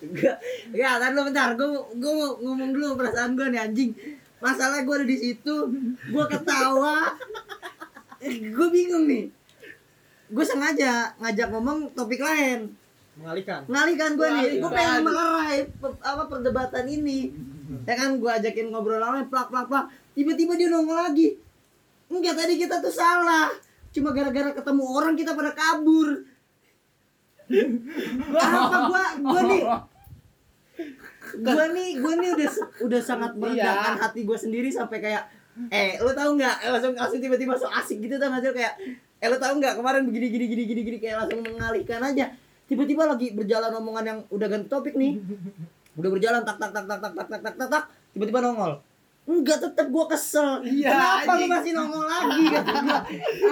[SPEAKER 3] Gua- ya tar lu bentar gua gua mau ngomong dulu perasaan gua nih anjing masalah gua ada di situ gua ketawa gua bingung nih gua sengaja ngajak ngomong topik lain
[SPEAKER 2] Mengalihkan.
[SPEAKER 3] ngalihkan gue nih gue
[SPEAKER 1] Ngalihkan.
[SPEAKER 3] pengen melerai pe- apa perdebatan ini ya kan gue ajakin ngobrol lama plak plak plak tiba-tiba dia nongol lagi enggak tadi kita tuh salah cuma gara-gara ketemu orang kita pada kabur apa gue gue nih gue nih gue nih udah udah sangat merendahkan
[SPEAKER 1] Iya.
[SPEAKER 3] hati gue sendiri sampai kayak eh lu tahu nggak Eh, langsung langsung tiba-tiba so asik gitu tau nggak sih? kayak eh lu tahu nggak kemarin begini gini gini gini gini kayak langsung mengalihkan aja tiba-tiba lagi berjalan omongan yang udah ganti topik nih udah berjalan tak tak tak tak tak tak tak tak tak tak tiba-tiba nongol enggak tetep gua kesel
[SPEAKER 1] Iya,
[SPEAKER 3] kenapa lu
[SPEAKER 1] anjing.
[SPEAKER 3] masih nongol lagi kata gua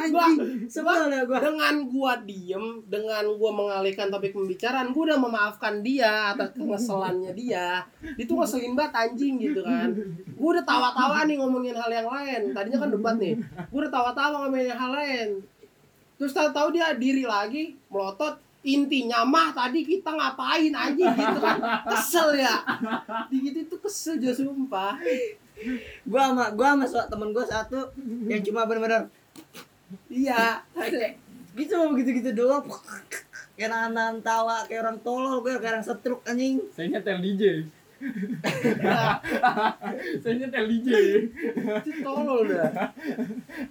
[SPEAKER 3] anjing sebel ya gua
[SPEAKER 1] dengan gua diem dengan gua mengalihkan topik pembicaraan gua udah memaafkan dia atas kengeselannya dia dia tuh ngeselin banget anjing gitu kan gua udah tawa-tawa nih ngomongin hal yang lain tadinya kan debat nih gua udah tawa-tawa ngomongin hal lain terus tahu-tahu dia diri lagi melotot intinya mah tadi kita ngapain anjing gitu kan kesel ya gitu itu kesel aja sumpah
[SPEAKER 3] gua sama gua sama so- temen gua satu yang cuma bener-bener
[SPEAKER 1] iya
[SPEAKER 3] gitu begitu-gitu doang kayak nahan tawa kayak orang tolol gue kayak orang setruk anjing
[SPEAKER 5] Saya nyetel DJ. Saya nyetel DJ.
[SPEAKER 1] itu tolol dah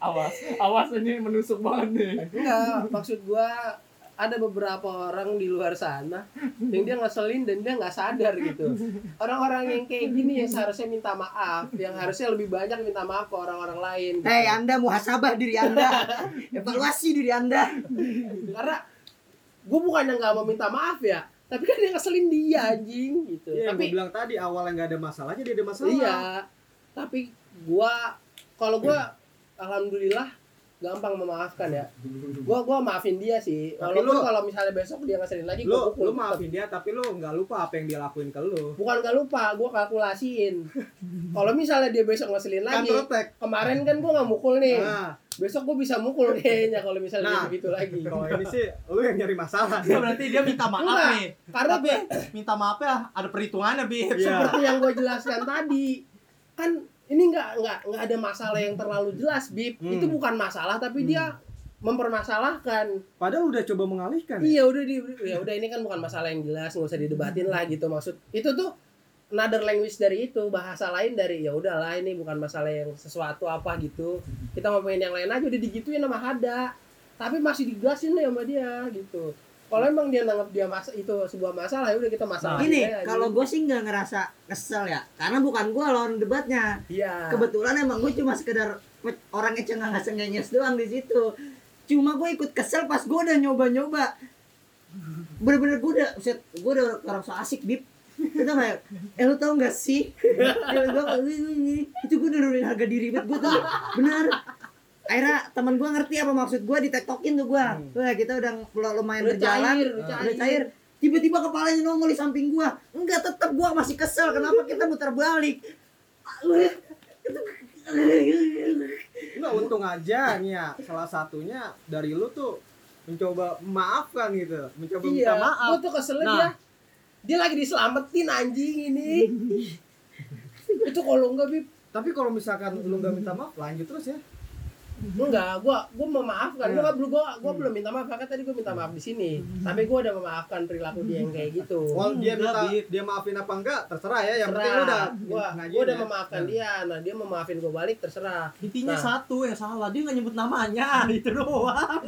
[SPEAKER 5] Awas, awas ini menusuk banget nih.
[SPEAKER 1] Enggak, maksud gua ada beberapa orang di luar sana yang dia ngeselin dan dia nggak sadar gitu. Orang-orang yang kayak gini yang seharusnya minta maaf, yang harusnya lebih banyak minta maaf ke orang-orang lain. gitu.
[SPEAKER 3] Hei Eh, anda muhasabah diri anda Evaluasi diri anda
[SPEAKER 1] Karena gua bukan yang nggak mau minta maaf ya, tapi kan dia ngeselin dia anjing gitu.
[SPEAKER 2] Iya, yang
[SPEAKER 1] tapi
[SPEAKER 2] gue bilang tadi awalnya nggak ada masalahnya dia ada masalah.
[SPEAKER 1] iya, tapi gua kalau gua alhamdulillah gampang memaafkan ya. Gua gua maafin dia sih.
[SPEAKER 2] Tapi
[SPEAKER 1] Walaupun
[SPEAKER 2] lu-
[SPEAKER 1] kalau misalnya besok dia ngeselin lagi
[SPEAKER 2] Lu
[SPEAKER 1] gua pukul
[SPEAKER 2] lu
[SPEAKER 1] tetep.
[SPEAKER 2] maafin dia tapi lu nggak lupa apa yang dia lakuin ke lu.
[SPEAKER 1] Bukan gak lupa, gue kalkulasiin. Kalau misalnya dia besok ngeselin lagi,
[SPEAKER 2] Counter attack.
[SPEAKER 1] kemarin kan gue nggak mukul nih.
[SPEAKER 2] Nah,
[SPEAKER 1] Besok gue bisa mukul kayaknya kalau misalnya
[SPEAKER 2] Nah.
[SPEAKER 1] dia begitu lagi.
[SPEAKER 2] kalau ini sih lu yang nyari masalah.
[SPEAKER 4] berarti dia minta
[SPEAKER 1] Enggak.
[SPEAKER 4] maaf nih
[SPEAKER 1] Karena
[SPEAKER 4] tapi minta maaf ya ada perhitungannya bib
[SPEAKER 2] Iya.
[SPEAKER 1] seperti yang gue jelaskan tadi, kan ini nggak nggak nggak ada masalah yang terlalu jelas, bib.
[SPEAKER 2] Hmm.
[SPEAKER 1] Itu bukan masalah, tapi
[SPEAKER 2] Hmm.
[SPEAKER 1] dia mempermasalahkan.
[SPEAKER 2] Padahal udah coba mengalihkan. ya?
[SPEAKER 1] Iya udah di, ya udah ini kan bukan masalah yang jelas, nggak usah didebatin lah gitu maksud. Itu tuh another language dari itu bahasa lain dari ya udahlah ini bukan masalah yang sesuatu apa gitu kita ngomongin yang lain aja udah digituin sama Hada tapi masih digasin deh sama dia gitu kalau emang dia nanggap dia masa itu sebuah masalah ya udah kita masalah
[SPEAKER 3] Gini,
[SPEAKER 4] Iya,
[SPEAKER 3] kalau gue sih nggak ngerasa kesel ya Karena bukan gue lawan debatnya
[SPEAKER 1] iya
[SPEAKER 3] Kebetulan emang gue cuma sekedar pe- Orangnya cengah cengenges doang di situ Cuma gue ikut kesel pas gue udah nyoba-nyoba Bener-bener gue udah, set, gue udah orang so asik, Bib Kita kayak, eh lu tau gak sih? Eh, lu tau gak sih? Itu gue nurunin harga diri banget, gue tuh bener Akhirnya teman gue ngerti apa maksud gue, ditektokin tuh gue Wah kita udah lumayan
[SPEAKER 1] udah
[SPEAKER 3] berjalan
[SPEAKER 2] Ah.
[SPEAKER 1] cair, udah
[SPEAKER 3] udah
[SPEAKER 1] cair. Iya.
[SPEAKER 3] cair tiba-tiba kepalanya nongol di samping gua enggak tetap gua masih kesel kenapa kita muter balik
[SPEAKER 2] Enggak untung aja nih ya. Salah satunya dari lu tuh mencoba memaafkan gitu, mencoba minta
[SPEAKER 1] iya
[SPEAKER 2] maaf.
[SPEAKER 1] gue tuh keselnya
[SPEAKER 2] Nah.
[SPEAKER 1] dia dia lagi diselamatin anjing ini itu kalau enggak Bib,
[SPEAKER 2] Tapi kalau misalkan lu nggak minta maaf, lanjut terus ya.
[SPEAKER 1] Enggak, gua gua memaafkan. Gua
[SPEAKER 2] Iya.
[SPEAKER 1] belum gua gua belum minta maaf. Kan tadi gua minta maaf di sini. Tapi gua udah memaafkan perilaku dia yang kayak gitu.
[SPEAKER 2] Kalau dia
[SPEAKER 4] enggak,
[SPEAKER 2] minta
[SPEAKER 4] Bib.
[SPEAKER 2] dia maafin apa enggak, terserah ya. Oh, iya, Yang penting
[SPEAKER 1] Terserah.
[SPEAKER 2] lu udah
[SPEAKER 1] gua
[SPEAKER 2] ngajuin
[SPEAKER 1] gua udah
[SPEAKER 2] ya.
[SPEAKER 1] memaafkan
[SPEAKER 2] Nah.
[SPEAKER 1] dia. Nah, dia mau maafin gua balik terserah.
[SPEAKER 4] intinya
[SPEAKER 1] Nah.
[SPEAKER 4] satu yang salah dia nggak nyebut namanya itu doang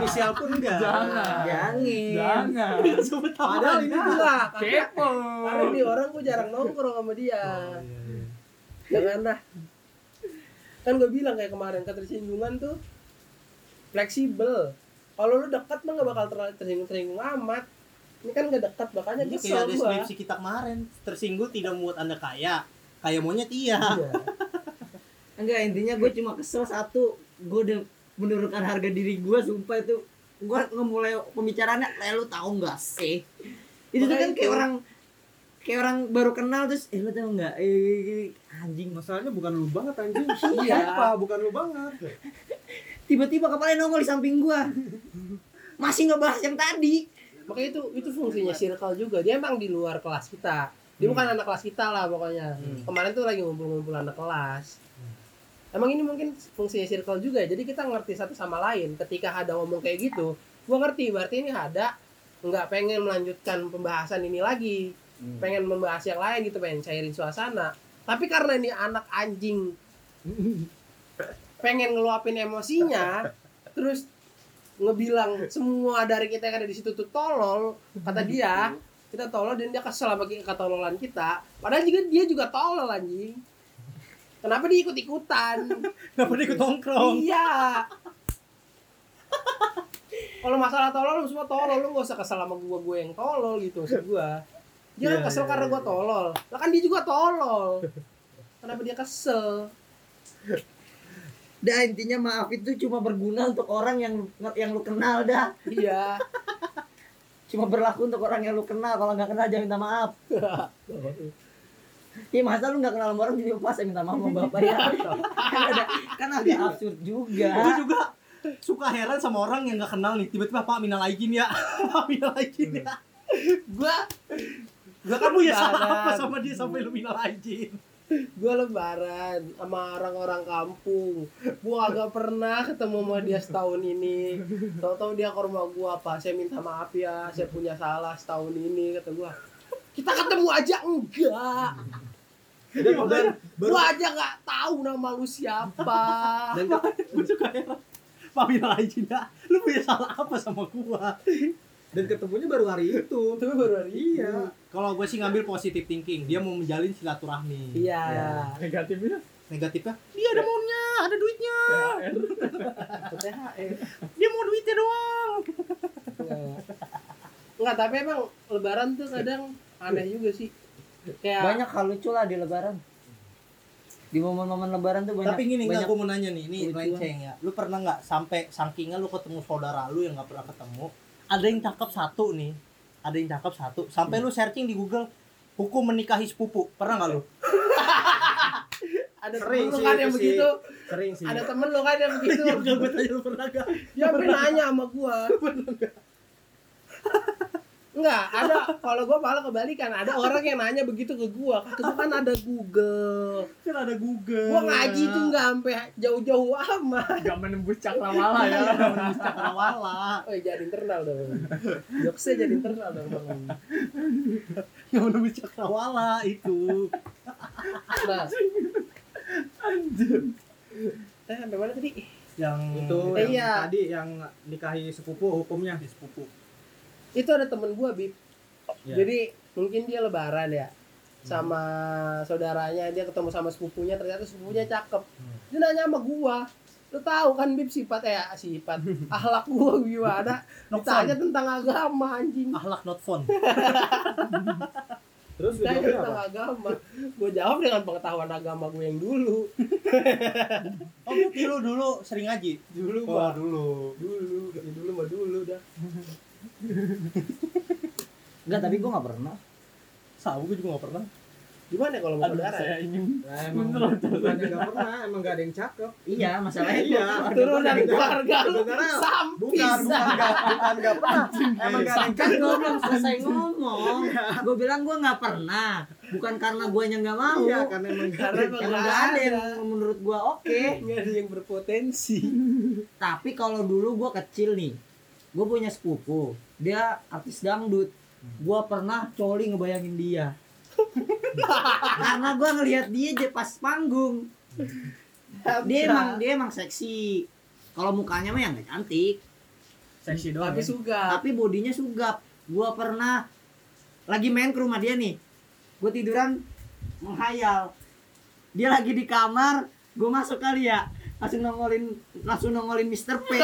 [SPEAKER 2] Inisial pun enggak.
[SPEAKER 5] Jangan.
[SPEAKER 3] jangan
[SPEAKER 5] Jangan.
[SPEAKER 4] Dia sebut
[SPEAKER 2] Padahal ini
[SPEAKER 4] namanya.
[SPEAKER 1] Enggak, karena,
[SPEAKER 5] Kepo.
[SPEAKER 1] karena di orang gua jarang nongkrong sama dia.
[SPEAKER 2] Oh, iya, iya.
[SPEAKER 1] Janganlah. Kan gua bilang kayak kemarin ketersinggungan tuh fleksibel. Kalau lu dekat mah gak bakal terlalu tersinggung-tersinggung amat. Ini kan gak dekat, makanya
[SPEAKER 4] Ini
[SPEAKER 1] kesel
[SPEAKER 4] kayak
[SPEAKER 1] gua.
[SPEAKER 4] deskripsi kita kemarin tersinggung tidak membuat anda kaya kayak monyet iya
[SPEAKER 1] Iya.
[SPEAKER 3] enggak intinya gue cuma kesel satu gue udah menurunkan harga diri gue sumpah itu gue ngemulai pembicaraannya "Eh, lu tahu nggak sih itu tuh
[SPEAKER 1] Makanya
[SPEAKER 3] kan kayak
[SPEAKER 1] itu.
[SPEAKER 3] orang kayak orang baru kenal terus eh lu tau nggak eh, gini, gini." anjing
[SPEAKER 2] Masalahnya bukan lu banget anjing.
[SPEAKER 1] Iya.
[SPEAKER 2] Apa? Bukan lu banget.
[SPEAKER 3] tiba-tiba kepalanya nongol di samping gue masih ngebahas yang tadi
[SPEAKER 1] makanya itu itu fungsinya circle juga dia emang di luar kelas kita dia bukan anak kelas kita lah pokoknya
[SPEAKER 2] Hmm.
[SPEAKER 1] kemarin tuh lagi ngumpul-ngumpul anak kelas emang ini mungkin fungsinya circle juga jadi kita ngerti satu sama lain ketika ada ngomong kayak gitu gua ngerti berarti ini ada nggak pengen melanjutkan pembahasan ini lagi pengen membahas yang lain gitu pengen cairin suasana tapi karena ini anak anjing pengen ngeluapin emosinya terus ngebilang semua dari kita yang ada di situ tuh tolol kata dia kita tolol dan dia kesel sama ki- ketololan kita padahal juga dia juga tolol anjing kenapa dia ikut ikutan
[SPEAKER 4] kenapa dia ikut
[SPEAKER 2] Oh.
[SPEAKER 4] nongkrong
[SPEAKER 1] iya kalau masalah tolol lu semua tolol lu gak usah kesel sama gua gua yang tolol gitu maksud gua Dia
[SPEAKER 2] Iya,
[SPEAKER 1] kan kesel
[SPEAKER 2] iya,
[SPEAKER 1] karena
[SPEAKER 2] iya.
[SPEAKER 1] gue tolol. Lah kan dia juga tolol. Kenapa dia kesel?
[SPEAKER 3] Dah intinya maaf itu cuma berguna untuk orang yang yang lu kenal dah.
[SPEAKER 1] Iya.
[SPEAKER 3] Cuma berlaku untuk orang yang lu kenal. Kalau nggak kenal jangan minta maaf. Iya masa lu nggak kenal sama orang jadi pas yang minta maaf sama bapaknya. kan ada kan ada absurd
[SPEAKER 1] Iya.
[SPEAKER 4] Gue
[SPEAKER 3] juga.
[SPEAKER 4] juga suka heran sama orang yang gak kenal nih tiba-tiba Pak minal aijin ya Pak minal aijin ya
[SPEAKER 1] Gue gue Hmm. kan
[SPEAKER 4] kamu ya salah apa
[SPEAKER 1] lebaran.
[SPEAKER 4] sama dia sampai lu minal aijin
[SPEAKER 1] Gue lebaran sama orang-orang kampung. Gue agak pernah ketemu sama dia setahun ini. Tahu-tahu dia ke rumah gue apa? Saya minta maaf ya. Saya punya salah setahun ini kata gue. Kita ketemu aja enggak.
[SPEAKER 2] Dan, dan,
[SPEAKER 1] Lu aja nggak tahu nama lu siapa.
[SPEAKER 2] dan,
[SPEAKER 4] gue suka heran Pak minal aijin ya lu punya salah apa sama gua
[SPEAKER 2] dan ketemunya baru hari itu.
[SPEAKER 1] Itu baru hari ini.
[SPEAKER 2] Iya.
[SPEAKER 4] kalau gue sih ngambil positive thinking dia mau menjalin silaturahmi
[SPEAKER 1] Iya.
[SPEAKER 2] Ya.
[SPEAKER 5] Negatifnya
[SPEAKER 4] negatifnya dia ada maunya ada duitnya
[SPEAKER 5] THR.
[SPEAKER 1] THR.
[SPEAKER 4] dia mau duitnya doang
[SPEAKER 1] Enggak, tapi emang lebaran tuh kadang aneh juga sih. Kayak
[SPEAKER 3] Banyak hal lucu lah di lebaran. Di momen-momen lebaran tuh banyak
[SPEAKER 4] tapi gini
[SPEAKER 3] banyak
[SPEAKER 4] nggak gue mau nanya nih ini
[SPEAKER 3] Lucu.
[SPEAKER 4] lenceng ya lu pernah nggak sampai saking lu ketemu saudara lu yang nggak pernah ketemu ada yang cakep satu nih ada yang cakep satu sampai lu searching di Google hukum menikahi sepupu pernah nggak lu
[SPEAKER 1] ada
[SPEAKER 2] sering
[SPEAKER 1] temen lu
[SPEAKER 2] sih
[SPEAKER 1] kan
[SPEAKER 2] itu sih. Iya,
[SPEAKER 1] yang begitu,
[SPEAKER 2] Sering sih.
[SPEAKER 1] ada temen lu kan yang begitu.
[SPEAKER 4] gue tanya lu pernah nggak
[SPEAKER 1] Dia sampe nanya sama Ya, gua. Enggak, ada kalau gua malah kebalikan, ada orang yang nanya begitu ke gua. Kata gua kan ada Google.
[SPEAKER 4] kan ada Google
[SPEAKER 1] Gua ngaji tuh enggak sampai jauh-jauh amat.
[SPEAKER 5] Gak menembus cakrawala ya.
[SPEAKER 4] cakrawala
[SPEAKER 1] Oh, jadi internal dong. Jokesnya jadi internal dong. Bang.
[SPEAKER 4] yang menemui cakrawala itu
[SPEAKER 1] Nah,
[SPEAKER 5] Anjir.
[SPEAKER 1] eh sampai mana tadi?
[SPEAKER 4] yang
[SPEAKER 2] itu
[SPEAKER 1] Eh,
[SPEAKER 2] yang
[SPEAKER 1] iya.
[SPEAKER 2] tadi yang nikahi sepupu hukumnya.
[SPEAKER 4] sepupu
[SPEAKER 1] itu ada temen gue bib
[SPEAKER 2] Iya.
[SPEAKER 1] jadi mungkin dia lebaran ya sama saudaranya dia ketemu sama sepupunya ternyata sepupunya cakep
[SPEAKER 2] Hmm.
[SPEAKER 1] dia nanya sama gua lu tahu kan bib sifat ya sifat akhlak gua gimana ditanya tentang agama anjing
[SPEAKER 2] Ah,
[SPEAKER 4] ahlak not fun
[SPEAKER 2] Terus lu
[SPEAKER 1] ditanya
[SPEAKER 2] jawabnya
[SPEAKER 1] tentang
[SPEAKER 2] apa?
[SPEAKER 1] agama gua jawab dengan pengetahuan agama gue yang dulu
[SPEAKER 4] oh berarti lu dulu sering ngaji
[SPEAKER 1] dulu
[SPEAKER 4] oh
[SPEAKER 1] mah
[SPEAKER 4] dulu
[SPEAKER 1] dulu ya dulu mah dulu dah
[SPEAKER 3] Enggak, tapi gue gak pernah.
[SPEAKER 4] sabu gue juga nggak pernah
[SPEAKER 1] gimana kalau mau
[SPEAKER 5] Aduh,
[SPEAKER 1] saudara ya?
[SPEAKER 5] saya ingin
[SPEAKER 2] Nah, emang
[SPEAKER 5] Beneran,
[SPEAKER 2] bukannya nggak pernah, emang nggak ada yang cakep.
[SPEAKER 3] Iya, masalahnya
[SPEAKER 2] Iya.
[SPEAKER 1] turun dari keluarga lu
[SPEAKER 2] Saudara, Bukan,
[SPEAKER 1] sampis
[SPEAKER 2] bukan nggak, bukan nggak pernah. Emang nggak ada yang
[SPEAKER 3] Kan gue belum selesai ngomong
[SPEAKER 2] Iya.
[SPEAKER 3] Gue bilang gue gak pernah Bukan karena guanya gak mau
[SPEAKER 2] Iya, karena emang nggak ada.
[SPEAKER 1] karena emang
[SPEAKER 3] Emang
[SPEAKER 1] nggak
[SPEAKER 3] gak ada
[SPEAKER 1] ada
[SPEAKER 3] yang menurut gue oke
[SPEAKER 1] nggak ada yang berpotensi
[SPEAKER 3] Tapi kalau dulu gue kecil nih Gue punya sepupu Dia artis dangdut Gue pernah coli ngebayangin dia Karena gue ngelihat dia aja pas panggung Dia emang, dia emang seksi Kalau mukanya mah yang gak cantik
[SPEAKER 4] seksi doang
[SPEAKER 1] tapi
[SPEAKER 4] ya.
[SPEAKER 1] suka
[SPEAKER 3] tapi bodinya sugap gua pernah lagi main ke rumah dia nih gue tiduran menghayal dia lagi di kamar gue masuk kali ya langsung nongolin langsung nongolin Mr. P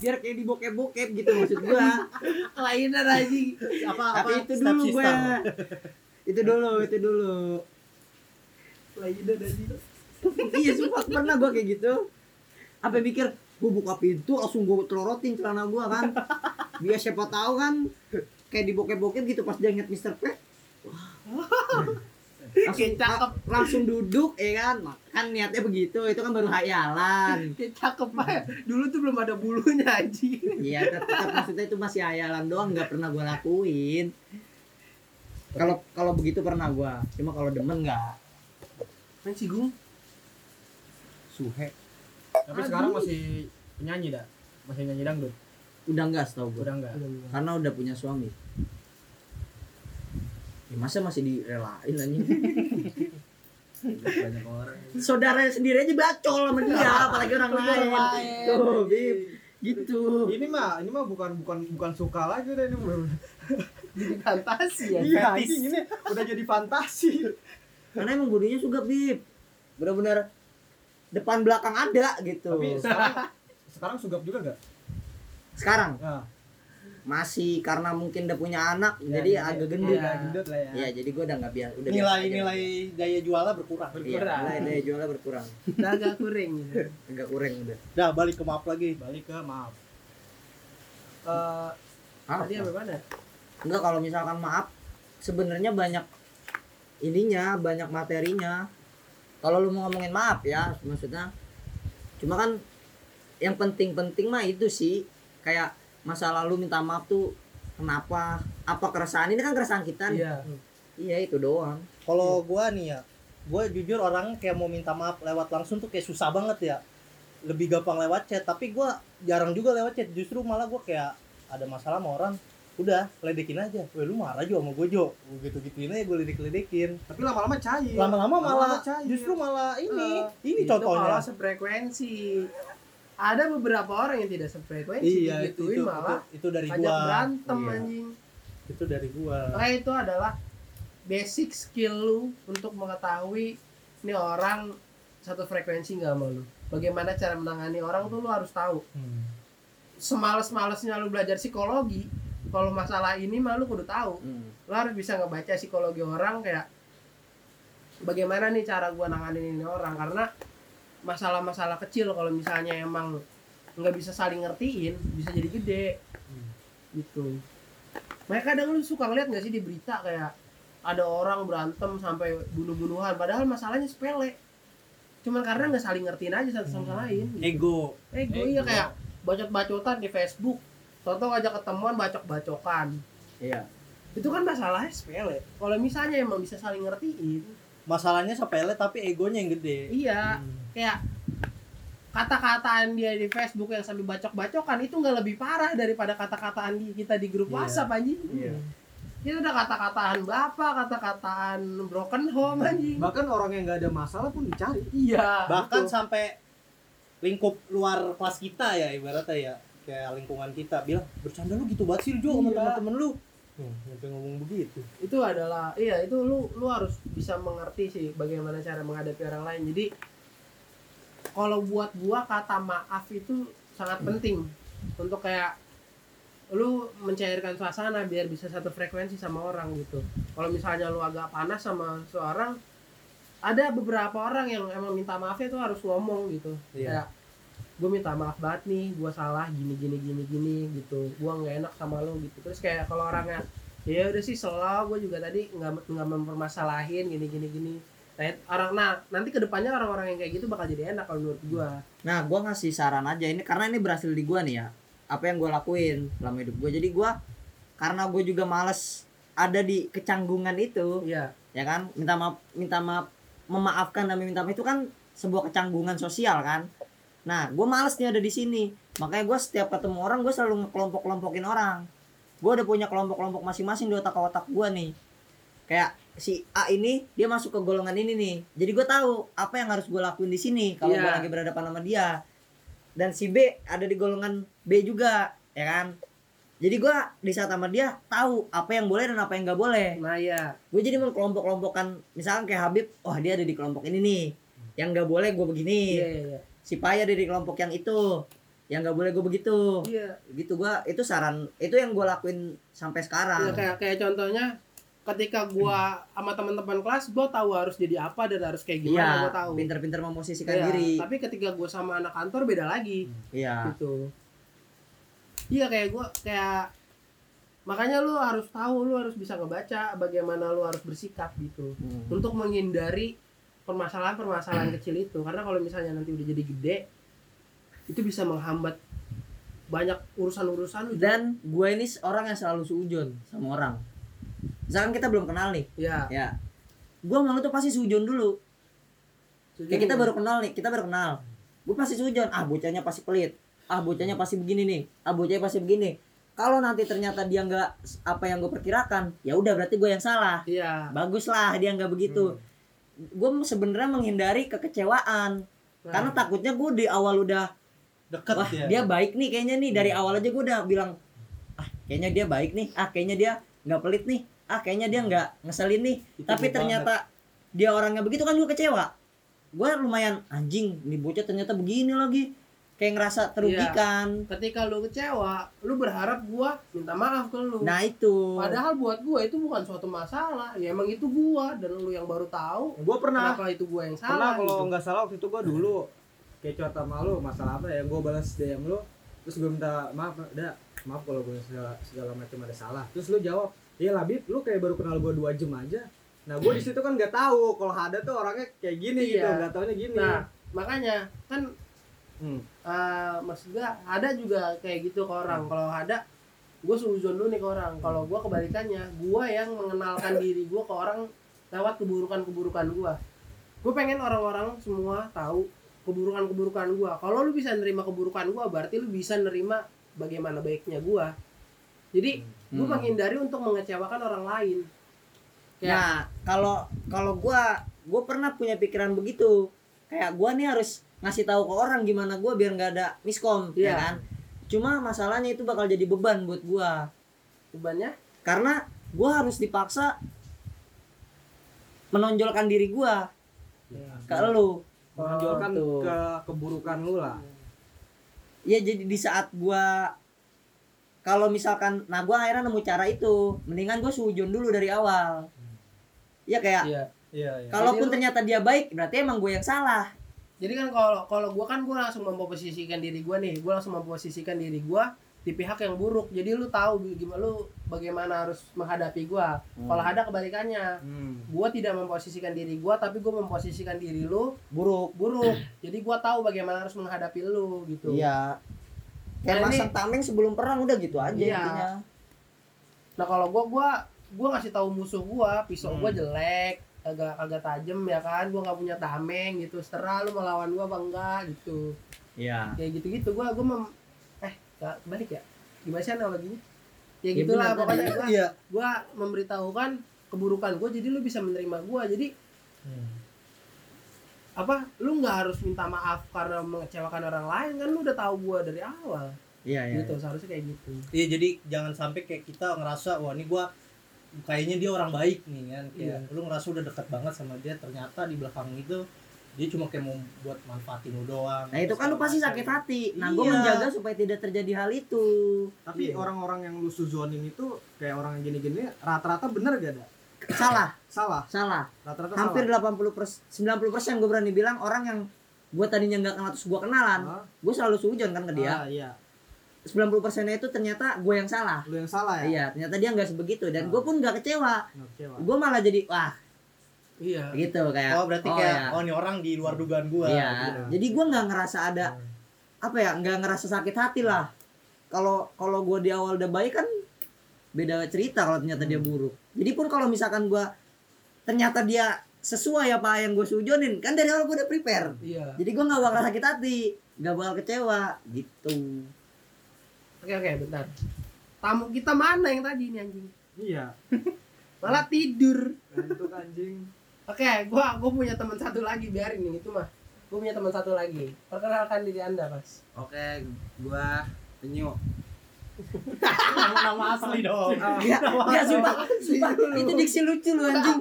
[SPEAKER 3] biar kayak dibokep-bokep gitu maksud gua
[SPEAKER 1] lainan aja
[SPEAKER 4] apa
[SPEAKER 3] tapi itu
[SPEAKER 4] step
[SPEAKER 3] dulu
[SPEAKER 4] sister.
[SPEAKER 3] gue itu dulu itu dulu
[SPEAKER 1] lainan aja
[SPEAKER 3] iya sumpah pernah gua kayak gitu apa mikir gue buka pintu langsung gue telorotin celana gua kan biar siapa tahu kan kayak dibokep-bokep gitu pas dia inget Mr. P Wah. langsung,
[SPEAKER 1] Kayak cakep.
[SPEAKER 3] langsung duduk ya kan kan niatnya begitu itu kan baru hayalan
[SPEAKER 1] kayak cakep aja dulu tuh belum ada bulunya aji
[SPEAKER 3] iya tetap maksudnya itu masih hayalan doang nggak pernah gua lakuin kalau kalau begitu pernah gua cuma kalau demen nggak
[SPEAKER 1] kan sih gung
[SPEAKER 3] suhe
[SPEAKER 2] Tapi sekarang masih penyanyi dah. Masih nyanyi dangdut.
[SPEAKER 3] udah nggak setahu gua
[SPEAKER 2] Udah enggak.
[SPEAKER 3] karena udah punya suami ya masa masih direlain anjing
[SPEAKER 2] Banyak orang.
[SPEAKER 3] saudara sendiri aja bacol sama dia apalagi orang lain tuh bib gitu
[SPEAKER 2] Ini mah, ini mah bukan bukan bukan suka lagi udah ini.
[SPEAKER 1] jadi fantasi ya
[SPEAKER 2] Iya, anjing, ini udah jadi fantasi.
[SPEAKER 3] karena emang bodinya suka bib benar-benar depan belakang ada gitu
[SPEAKER 2] Tapi sekarang sekarang sugap juga enggak?
[SPEAKER 3] sekarang
[SPEAKER 2] Nah,
[SPEAKER 3] masih karena mungkin udah punya anak
[SPEAKER 2] Ya,
[SPEAKER 3] jadi
[SPEAKER 2] ya,
[SPEAKER 3] agak gendut
[SPEAKER 6] ya.
[SPEAKER 2] Agak gendut lah ya.
[SPEAKER 3] ya jadi gue udah nggak biasa udah biasa aja.
[SPEAKER 4] nilai-nilai daya jualnya berkurang
[SPEAKER 3] Iya,
[SPEAKER 6] berkurang.
[SPEAKER 3] nilai daya jualnya berkurang
[SPEAKER 1] Udah agak kuring gitu.
[SPEAKER 3] agak kurang udah
[SPEAKER 4] dah balik ke maaf lagi
[SPEAKER 2] Balik ke maaf.
[SPEAKER 1] Eh,
[SPEAKER 3] Ah,
[SPEAKER 1] tadi apa mana?
[SPEAKER 3] enggak kalau misalkan maaf sebenarnya banyak ininya banyak materinya kalau lu mau ngomongin maaf ya maksudnya cuma kan yang penting-penting mah itu sih kayak masa lalu minta maaf tuh kenapa apa keresahan ini kan keresahan kita nih.
[SPEAKER 1] Iya.
[SPEAKER 3] iya itu doang
[SPEAKER 4] kalau gua nih ya gua jujur orangnya kayak mau minta maaf lewat langsung tuh kayak susah banget ya lebih gampang lewat chat tapi gua jarang juga lewat chat justru malah gua kayak ada masalah sama orang udah ledekin aja Weh lu marah juga sama gue Jo gitu gituin aja gue ledek ledekin
[SPEAKER 2] Tapi lama-lama cair.
[SPEAKER 4] lama-lama malah
[SPEAKER 2] Lama-lama cair.
[SPEAKER 4] justru malah ini
[SPEAKER 1] Iya, Eh,
[SPEAKER 4] ini
[SPEAKER 1] Itu
[SPEAKER 4] contohnya
[SPEAKER 1] kalau sefrekuensi. Ada beberapa orang yang tidak sefrekuensi
[SPEAKER 4] iya itu,
[SPEAKER 1] digituin
[SPEAKER 4] itu,
[SPEAKER 1] malah
[SPEAKER 4] itu dari
[SPEAKER 1] ajak
[SPEAKER 4] gua
[SPEAKER 1] berantem
[SPEAKER 2] Iya.
[SPEAKER 1] anjing.
[SPEAKER 4] itu dari gua
[SPEAKER 1] Makanya itu adalah basic skill lu untuk mengetahui ini orang satu frekuensi nggak sama lu. Bagaimana cara menangani orang tuh lu harus tahu.
[SPEAKER 4] Hmm.
[SPEAKER 1] Semales-malesnya lu belajar psikologi, kalau masalah ini mah lu kudu tahu.
[SPEAKER 3] Hmm.
[SPEAKER 1] lo harus bisa ngebaca psikologi orang kayak bagaimana nih cara gua nanganin ini orang karena masalah-masalah kecil kalau misalnya emang nggak bisa saling ngertiin bisa jadi gede gitu makanya kadang lu suka ngeliat nggak sih di berita kayak ada orang berantem sampai bunuh-bunuhan padahal masalahnya sepele cuman karena nggak saling ngertiin aja satu sama lain
[SPEAKER 4] ego
[SPEAKER 1] eh gue iya kayak bacot-bacotan di Facebook Tonton aja ketemuan bacok-bacokan
[SPEAKER 3] iya
[SPEAKER 1] itu kan masalahnya sepele kalau misalnya emang bisa saling ngertiin
[SPEAKER 4] masalahnya sepele tapi egonya yang gede
[SPEAKER 1] iya kayak kata-kataan dia di Facebook yang sambil bacok-bacokan itu nggak lebih parah daripada kata-kataan di- kita di grup
[SPEAKER 4] Iya.
[SPEAKER 1] WhatsApp anjing
[SPEAKER 3] Iya.
[SPEAKER 1] itu udah kata-kataan bapak kata-kataan broken home anjing
[SPEAKER 2] Bahkan orang yang nggak ada masalah pun dicari.
[SPEAKER 1] iya
[SPEAKER 4] bahkan
[SPEAKER 1] betul.
[SPEAKER 4] sampai lingkup luar kelas kita ya ibaratnya ya kayak lingkungan kita bilang bercanda lu gitu banget sih lu juga sama
[SPEAKER 1] Iya.
[SPEAKER 4] temen-temen lu hmm, sampai ngomong begitu
[SPEAKER 1] itu adalah iya itu lu lu harus bisa mengerti sih bagaimana cara menghadapi orang lain jadi kalau buat gua kata maaf itu sangat penting untuk kayak lu mencairkan suasana biar bisa satu frekuensi sama orang gitu kalau misalnya lu agak panas sama seorang ada beberapa orang yang emang minta maafnya itu harus ngomong gitu
[SPEAKER 4] Iya.
[SPEAKER 1] kayak gue minta maaf banget nih gue salah gini gini gini gini gitu gue nggak enak sama lu gitu terus kayak kalau orangnya ya udah sih selalu gue juga tadi nggak nggak mempermasalahin gini gini gini nah, it- orang nah nanti kedepannya orang-orang yang kayak gitu bakal jadi enak kalau menurut gue
[SPEAKER 3] Nah, gua ngasih saran aja ini karena ini berhasil di gua nih ya. Apa yang gua lakuin dalam hidup gua. Jadi gua karena gue juga males ada di kecanggungan itu,
[SPEAKER 1] iya
[SPEAKER 3] ya kan? Minta maaf, minta maaf, memaafkan dan minta maaf itu kan sebuah kecanggungan sosial kan. Nah, gua males nih ada di sini. Makanya gua setiap ketemu orang gua selalu ngekelompok-kelompokin orang. Gua udah punya kelompok-kelompok masing-masing di otak-otak gua nih. Kayak si A ini dia masuk ke golongan ini nih. Jadi gua tahu apa yang harus gua lakuin di sini kalau
[SPEAKER 1] Iya.
[SPEAKER 3] gua lagi berhadapan sama dia. Dan si B ada di golongan B juga, ya kan? Jadi gua di saat sama dia tahu apa yang boleh dan apa yang nggak boleh
[SPEAKER 1] nah ya
[SPEAKER 3] gue jadi mengkelompok-kelompokkan misalkan kayak Habib wah dia ada di kelompok ini nih yang nggak boleh gue begini
[SPEAKER 1] iya iya iya.
[SPEAKER 3] si Paya ada di kelompok yang itu yang nggak boleh gue begitu
[SPEAKER 1] iya
[SPEAKER 3] gitu gue itu saran itu yang gue lakuin
[SPEAKER 1] Iya,
[SPEAKER 3] sampai sekarang
[SPEAKER 1] kayak kayak contohnya ketika gua sama teman-teman kelas gua tahu harus jadi apa dan harus kayak gimana
[SPEAKER 3] iya
[SPEAKER 1] gua tahu
[SPEAKER 3] pinter-pinter memposisikan
[SPEAKER 1] Iya,
[SPEAKER 3] diri
[SPEAKER 1] tapi ketika gua sama anak kantor beda lagi
[SPEAKER 3] iya
[SPEAKER 1] gitu iya kayak gua kayak makanya lu harus tahu lu harus bisa ngebaca bagaimana lu harus bersikap gitu
[SPEAKER 3] Hmm.
[SPEAKER 1] untuk menghindari permasalahan-permasalahan kecil itu karena kalau misalnya nanti udah jadi gede itu bisa menghambat banyak urusan-urusan lu
[SPEAKER 3] dan gue ini orang yang selalu suujon sama orang misalkan kita belum kenal nih
[SPEAKER 1] ya
[SPEAKER 3] ya gue malu tuh pasti suujon dulu Kayak kita baru kenal nih, kita baru kenal. Gue pasti sujon, ah bocahnya pasti pelit. Ah bocahnya pasti begini nih, ah bocahnya pasti begini. Kalau nanti ternyata dia nggak s- apa yang gue perkirakan, ya udah berarti gue yang salah.
[SPEAKER 1] iya
[SPEAKER 3] Baguslah dia nggak begitu. Gue sebenarnya menghindari kekecewaan
[SPEAKER 1] Nah,
[SPEAKER 3] karena takutnya gue di awal udah
[SPEAKER 4] deket
[SPEAKER 3] wah
[SPEAKER 4] ya Hmm.
[SPEAKER 3] dia baik nih kayaknya nih dari awal aja gue udah bilang ah kayaknya dia baik nih, ah kayaknya dia nggak pelit nih, ah kayaknya dia nggak ngeselin nih
[SPEAKER 4] Hmm. Itu
[SPEAKER 3] tapi
[SPEAKER 4] gua
[SPEAKER 3] ternyata dia orangnya begitu kan gue kecewa gue lumayan anjing nih bocah ternyata begini lagi kayak ngerasa terugikan
[SPEAKER 1] ketika lu kecewa lu berharap gua minta maaf ke lu
[SPEAKER 3] nah itu
[SPEAKER 1] Iya. padahal buat gua itu bukan suatu masalah ya emang itu gua dan lu yang baru tahu
[SPEAKER 2] gue pernah
[SPEAKER 1] kenapa itu gua yang
[SPEAKER 2] pernah
[SPEAKER 1] salah
[SPEAKER 2] kalau
[SPEAKER 1] gitu.
[SPEAKER 2] nggak salah waktu itu gue dulu kecoh sama lu masalah apa ya gue balas DM lu terus gue minta maaf dah maaf kalau gue segala, segala macam ada salah terus lu jawab iya labib lu kayak baru kenal gue dua jam aja nah gue di situ kan nggak tahu kalau ada tuh orangnya kayak gini
[SPEAKER 1] Iya.
[SPEAKER 2] gitu nggak taunya gini
[SPEAKER 1] nah makanya kan
[SPEAKER 2] Hmm.
[SPEAKER 1] eh maksud gua ada juga kayak gitu ke orang kalau ada gua suzon dulu nih ke orang kalau gua kebalikannya gua yang mengenalkan diri gua ke orang lewat keburukan keburukan gua gue pengen orang-orang semua tahu keburukan keburukan gua kalau lu bisa nerima keburukan gua berarti lu bisa nerima bagaimana baiknya gua jadi gue
[SPEAKER 3] Hmm.
[SPEAKER 1] menghindari untuk mengecewakan orang lain ya
[SPEAKER 3] Nah, kalau kalau gua gua pernah punya pikiran begitu. Kayak gua nih harus ngasih tahu ke orang gimana gua biar nggak ada miskom,
[SPEAKER 1] Iya.
[SPEAKER 3] ya kan? Cuma masalahnya itu bakal jadi beban buat gua.
[SPEAKER 1] bebannya
[SPEAKER 3] Karena gua harus dipaksa menonjolkan diri gua ke lu.
[SPEAKER 2] Iya.
[SPEAKER 3] Gitu.
[SPEAKER 2] menonjolkan
[SPEAKER 1] Oh, tuh.
[SPEAKER 2] ke keburukan lu lah
[SPEAKER 3] Ya jadi di saat gua kalau misalkan nah gua akhirnya nemu cara itu, mendingan gua sujun dulu dari awal. Ya kayak
[SPEAKER 1] iya
[SPEAKER 2] iya iya
[SPEAKER 1] Jadi
[SPEAKER 3] kalaupun
[SPEAKER 1] lu-
[SPEAKER 3] ternyata dia baik, berarti emang gue yang salah.
[SPEAKER 1] jadi kan kalau kalau gue kan gue langsung memposisikan diri gue nih gue langsung memposisikan diri gue di pihak yang buruk jadi lu tahu bi- gimana lu bagaimana harus menghadapi gue kalau ada kebalikannya
[SPEAKER 2] Hmm.
[SPEAKER 1] gue tidak memposisikan diri gue tapi gue memposisikan diri lu
[SPEAKER 3] buruk
[SPEAKER 1] buruk jadi gue tahu bagaimana harus menghadapi lu gitu
[SPEAKER 3] iya
[SPEAKER 1] Nah,
[SPEAKER 3] kayak
[SPEAKER 1] ini-
[SPEAKER 3] masang tameng sebelum perang udah gitu aja
[SPEAKER 1] Iya.
[SPEAKER 3] intinya
[SPEAKER 1] nah kalau gue gue gue ngasih tahu musuh gue pisau gue jelek agak agak tajam ya kan gue nggak punya tameng gitu setera lu mau lawan gue apa enggak gitu
[SPEAKER 3] iya
[SPEAKER 1] kayak gitu gitu gua gua mem eh gak balik ya gimana sih analoginya ya
[SPEAKER 3] Ya,
[SPEAKER 1] gitulah
[SPEAKER 3] bener,
[SPEAKER 1] pokoknya gua,
[SPEAKER 4] Iya.
[SPEAKER 1] gua memberitahukan keburukan gua jadi lu bisa menerima gua jadi
[SPEAKER 3] Hmm.
[SPEAKER 1] apa lu nggak harus minta maaf karena mengecewakan orang lain kan lu udah tahu gua dari awal
[SPEAKER 3] iya
[SPEAKER 1] gitu seharusnya kayak gitu
[SPEAKER 4] Iya jadi jangan sampai kayak kita ngerasa wah ini gua kayaknya dia orang baik nih kan kayak
[SPEAKER 3] Iya.
[SPEAKER 4] lu ngerasa udah dekat banget sama dia ternyata di belakang itu dia cuma kayak mau buat manfaatin lu doang.
[SPEAKER 3] nah itu kan lu pasti sakit hati nah gue
[SPEAKER 4] Iya.
[SPEAKER 3] menjaga supaya tidak terjadi hal itu
[SPEAKER 2] tapi orang-orang yang lu suzonin itu kayak orang yang gini-gini rata-rata bener gak ada
[SPEAKER 3] salah
[SPEAKER 2] salah
[SPEAKER 3] salah
[SPEAKER 2] rata-rata
[SPEAKER 3] hampir 80 90 persen gue berani bilang orang yang gue tadinya nggak kenal terus gue kenalan
[SPEAKER 2] salah
[SPEAKER 3] gue selalu sujon kan ke dia
[SPEAKER 2] Ah, iya
[SPEAKER 3] 90 persennya itu ternyata gue yang salah
[SPEAKER 2] lu yang salah ya Nah,
[SPEAKER 3] iya ternyata dia nggak sebegitu
[SPEAKER 2] Ah.
[SPEAKER 3] dan gue pun nggak kecewa
[SPEAKER 2] oke Wak.
[SPEAKER 3] gue malah jadi wah
[SPEAKER 1] iya
[SPEAKER 3] gitu kayak
[SPEAKER 4] Oh berarti kayak oh ini orang di luar dugaan gua.
[SPEAKER 3] Iya.
[SPEAKER 4] gitu.
[SPEAKER 3] Jadi gua nggak ngerasa ada
[SPEAKER 2] Iya.
[SPEAKER 3] apa ya, nggak ngerasa sakit hati lah. Kalau kalau gua di awal udah baik kan beda cerita kalau ternyata dia buruk. Jadi pun kalau misalkan gua ternyata dia sesuai apa yang gue sujonin kan dari awal gua udah prepare.
[SPEAKER 1] iya
[SPEAKER 3] Jadi gua nggak bakal sakit hati, nggak bakal kecewa gitu.
[SPEAKER 1] oke oke bentar tamu kita mana yang tadi ini anjing
[SPEAKER 2] iya
[SPEAKER 1] malah
[SPEAKER 3] Hmm.
[SPEAKER 1] tidur
[SPEAKER 2] Nah, itu kan, anjing
[SPEAKER 1] Oke, gua gua punya teman satu lagi biarin nih itu mah. Gua punya teman satu lagi. Perkenalkan diri Anda, Mas.
[SPEAKER 7] Oke, gua penyu.
[SPEAKER 4] Nama asli dong.
[SPEAKER 3] Ya, ya sumpah, sumpah itu diksi lucu lu anjing.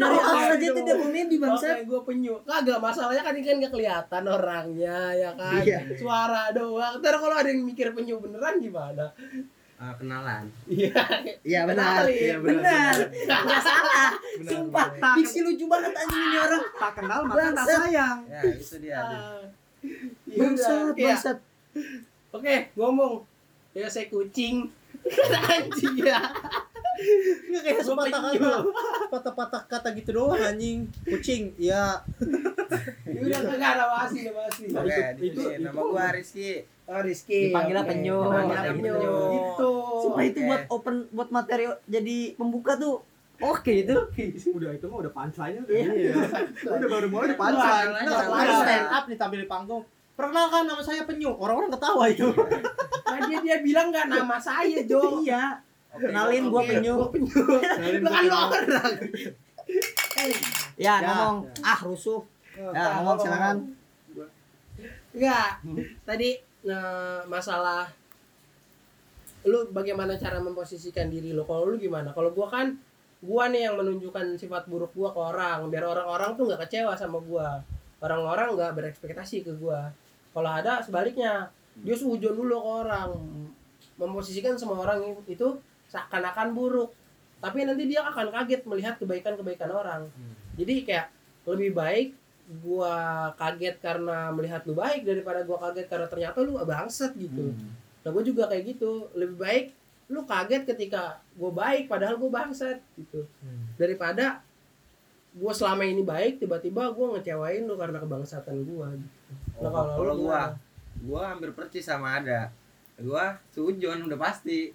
[SPEAKER 3] Dari awal aja tuh dia komedi bangsa.
[SPEAKER 1] Oke, gua penyu. Kagak masalahnya kan ini kan gak kelihatan orangnya ya kan.
[SPEAKER 3] Iya.
[SPEAKER 1] Suara doang. Ntar kalau ada yang mikir penyu beneran gimana?
[SPEAKER 7] Eh, kenalan.
[SPEAKER 1] Iya.
[SPEAKER 3] Iya benar.
[SPEAKER 1] Kenalin.
[SPEAKER 7] Iya,
[SPEAKER 3] Benar. Enggak
[SPEAKER 1] iya.
[SPEAKER 3] salah. Sumpah, diksi lucu banget anjing ini orang.
[SPEAKER 2] tak kenal maka tak
[SPEAKER 3] Bangsat.
[SPEAKER 2] sayang
[SPEAKER 7] Ya, itu dia. aduh.
[SPEAKER 1] Ah. Iya,
[SPEAKER 3] Bangsat,
[SPEAKER 1] iya.
[SPEAKER 3] bangsat.
[SPEAKER 1] Oke, ngomong. Ya saya kucing. Kata anjing ya.
[SPEAKER 4] Ini kayak sepatah kata patah-patah kata gitu doang anjing. Kucing. Iya.
[SPEAKER 3] Iya.
[SPEAKER 1] Ya udah kagak ada masih, ada masih.
[SPEAKER 7] Oke, di
[SPEAKER 2] itu-
[SPEAKER 7] sini nama gua Rizky.
[SPEAKER 1] Oh, Rizky.
[SPEAKER 3] Dipanggilnya
[SPEAKER 1] oke.
[SPEAKER 3] penyu.
[SPEAKER 1] Dipanggilnya
[SPEAKER 7] Dipanggilnya
[SPEAKER 1] penyu.
[SPEAKER 7] penyu.
[SPEAKER 1] Gitu.
[SPEAKER 3] Sumpah itu
[SPEAKER 7] Oke.
[SPEAKER 3] buat open buat materi jadi pembuka tuh Oke gitu. itu
[SPEAKER 2] udah itu mah udah punchline udah
[SPEAKER 3] Iya.
[SPEAKER 2] udah baru mulai udah
[SPEAKER 7] Kenalan
[SPEAKER 2] punchline
[SPEAKER 7] aja,
[SPEAKER 4] Nah,
[SPEAKER 7] kenalan.
[SPEAKER 4] ada stand up nih tampil di panggung. Perkenalkan nama saya Penyu. Orang-orang ketawa itu.
[SPEAKER 1] Nah, dia dia bilang nggak nama saya, Jo.
[SPEAKER 3] Iya.
[SPEAKER 7] Oke,
[SPEAKER 3] Kenalin gua penyu.
[SPEAKER 1] Gua penyu.
[SPEAKER 3] Iya.
[SPEAKER 1] Lu kan lo orang.
[SPEAKER 3] Ya,
[SPEAKER 4] Ya.
[SPEAKER 3] ngomong. Ah, rusuh. Ya, ngomong silakan.
[SPEAKER 1] Enggak. Tadi eh, masalah lu bagaimana cara memposisikan diri lo? Kalau lu gimana? Kalau gua kan gua nih yang menunjukkan sifat buruk gua ke orang biar orang-orang tuh nggak kecewa sama gua. Orang-orang nggak berekspektasi ke gua. kalau ada sebaliknya dia seujon dulu ke orang memposisikan semua orang itu seakan-akan buruk tapi nanti dia akan kaget melihat kebaikan-kebaikan orang jadi kayak lebih baik gua kaget karena melihat lu baik daripada gua kaget karena ternyata lu bangsat gitu
[SPEAKER 3] Hmm.
[SPEAKER 1] Nah gue juga kayak gitu Lebih baik lu kaget ketika gue baik padahal gue bangsat gitu
[SPEAKER 3] Hmm.
[SPEAKER 1] Daripada gue selama ini baik tiba-tiba gue ngecewain lu karena kebangsatan gitu. gue
[SPEAKER 7] Oh,
[SPEAKER 1] kalau lu
[SPEAKER 7] kalau gua,
[SPEAKER 1] gimana?
[SPEAKER 7] gua hampir percis sama ada. Gua sujon udah pasti.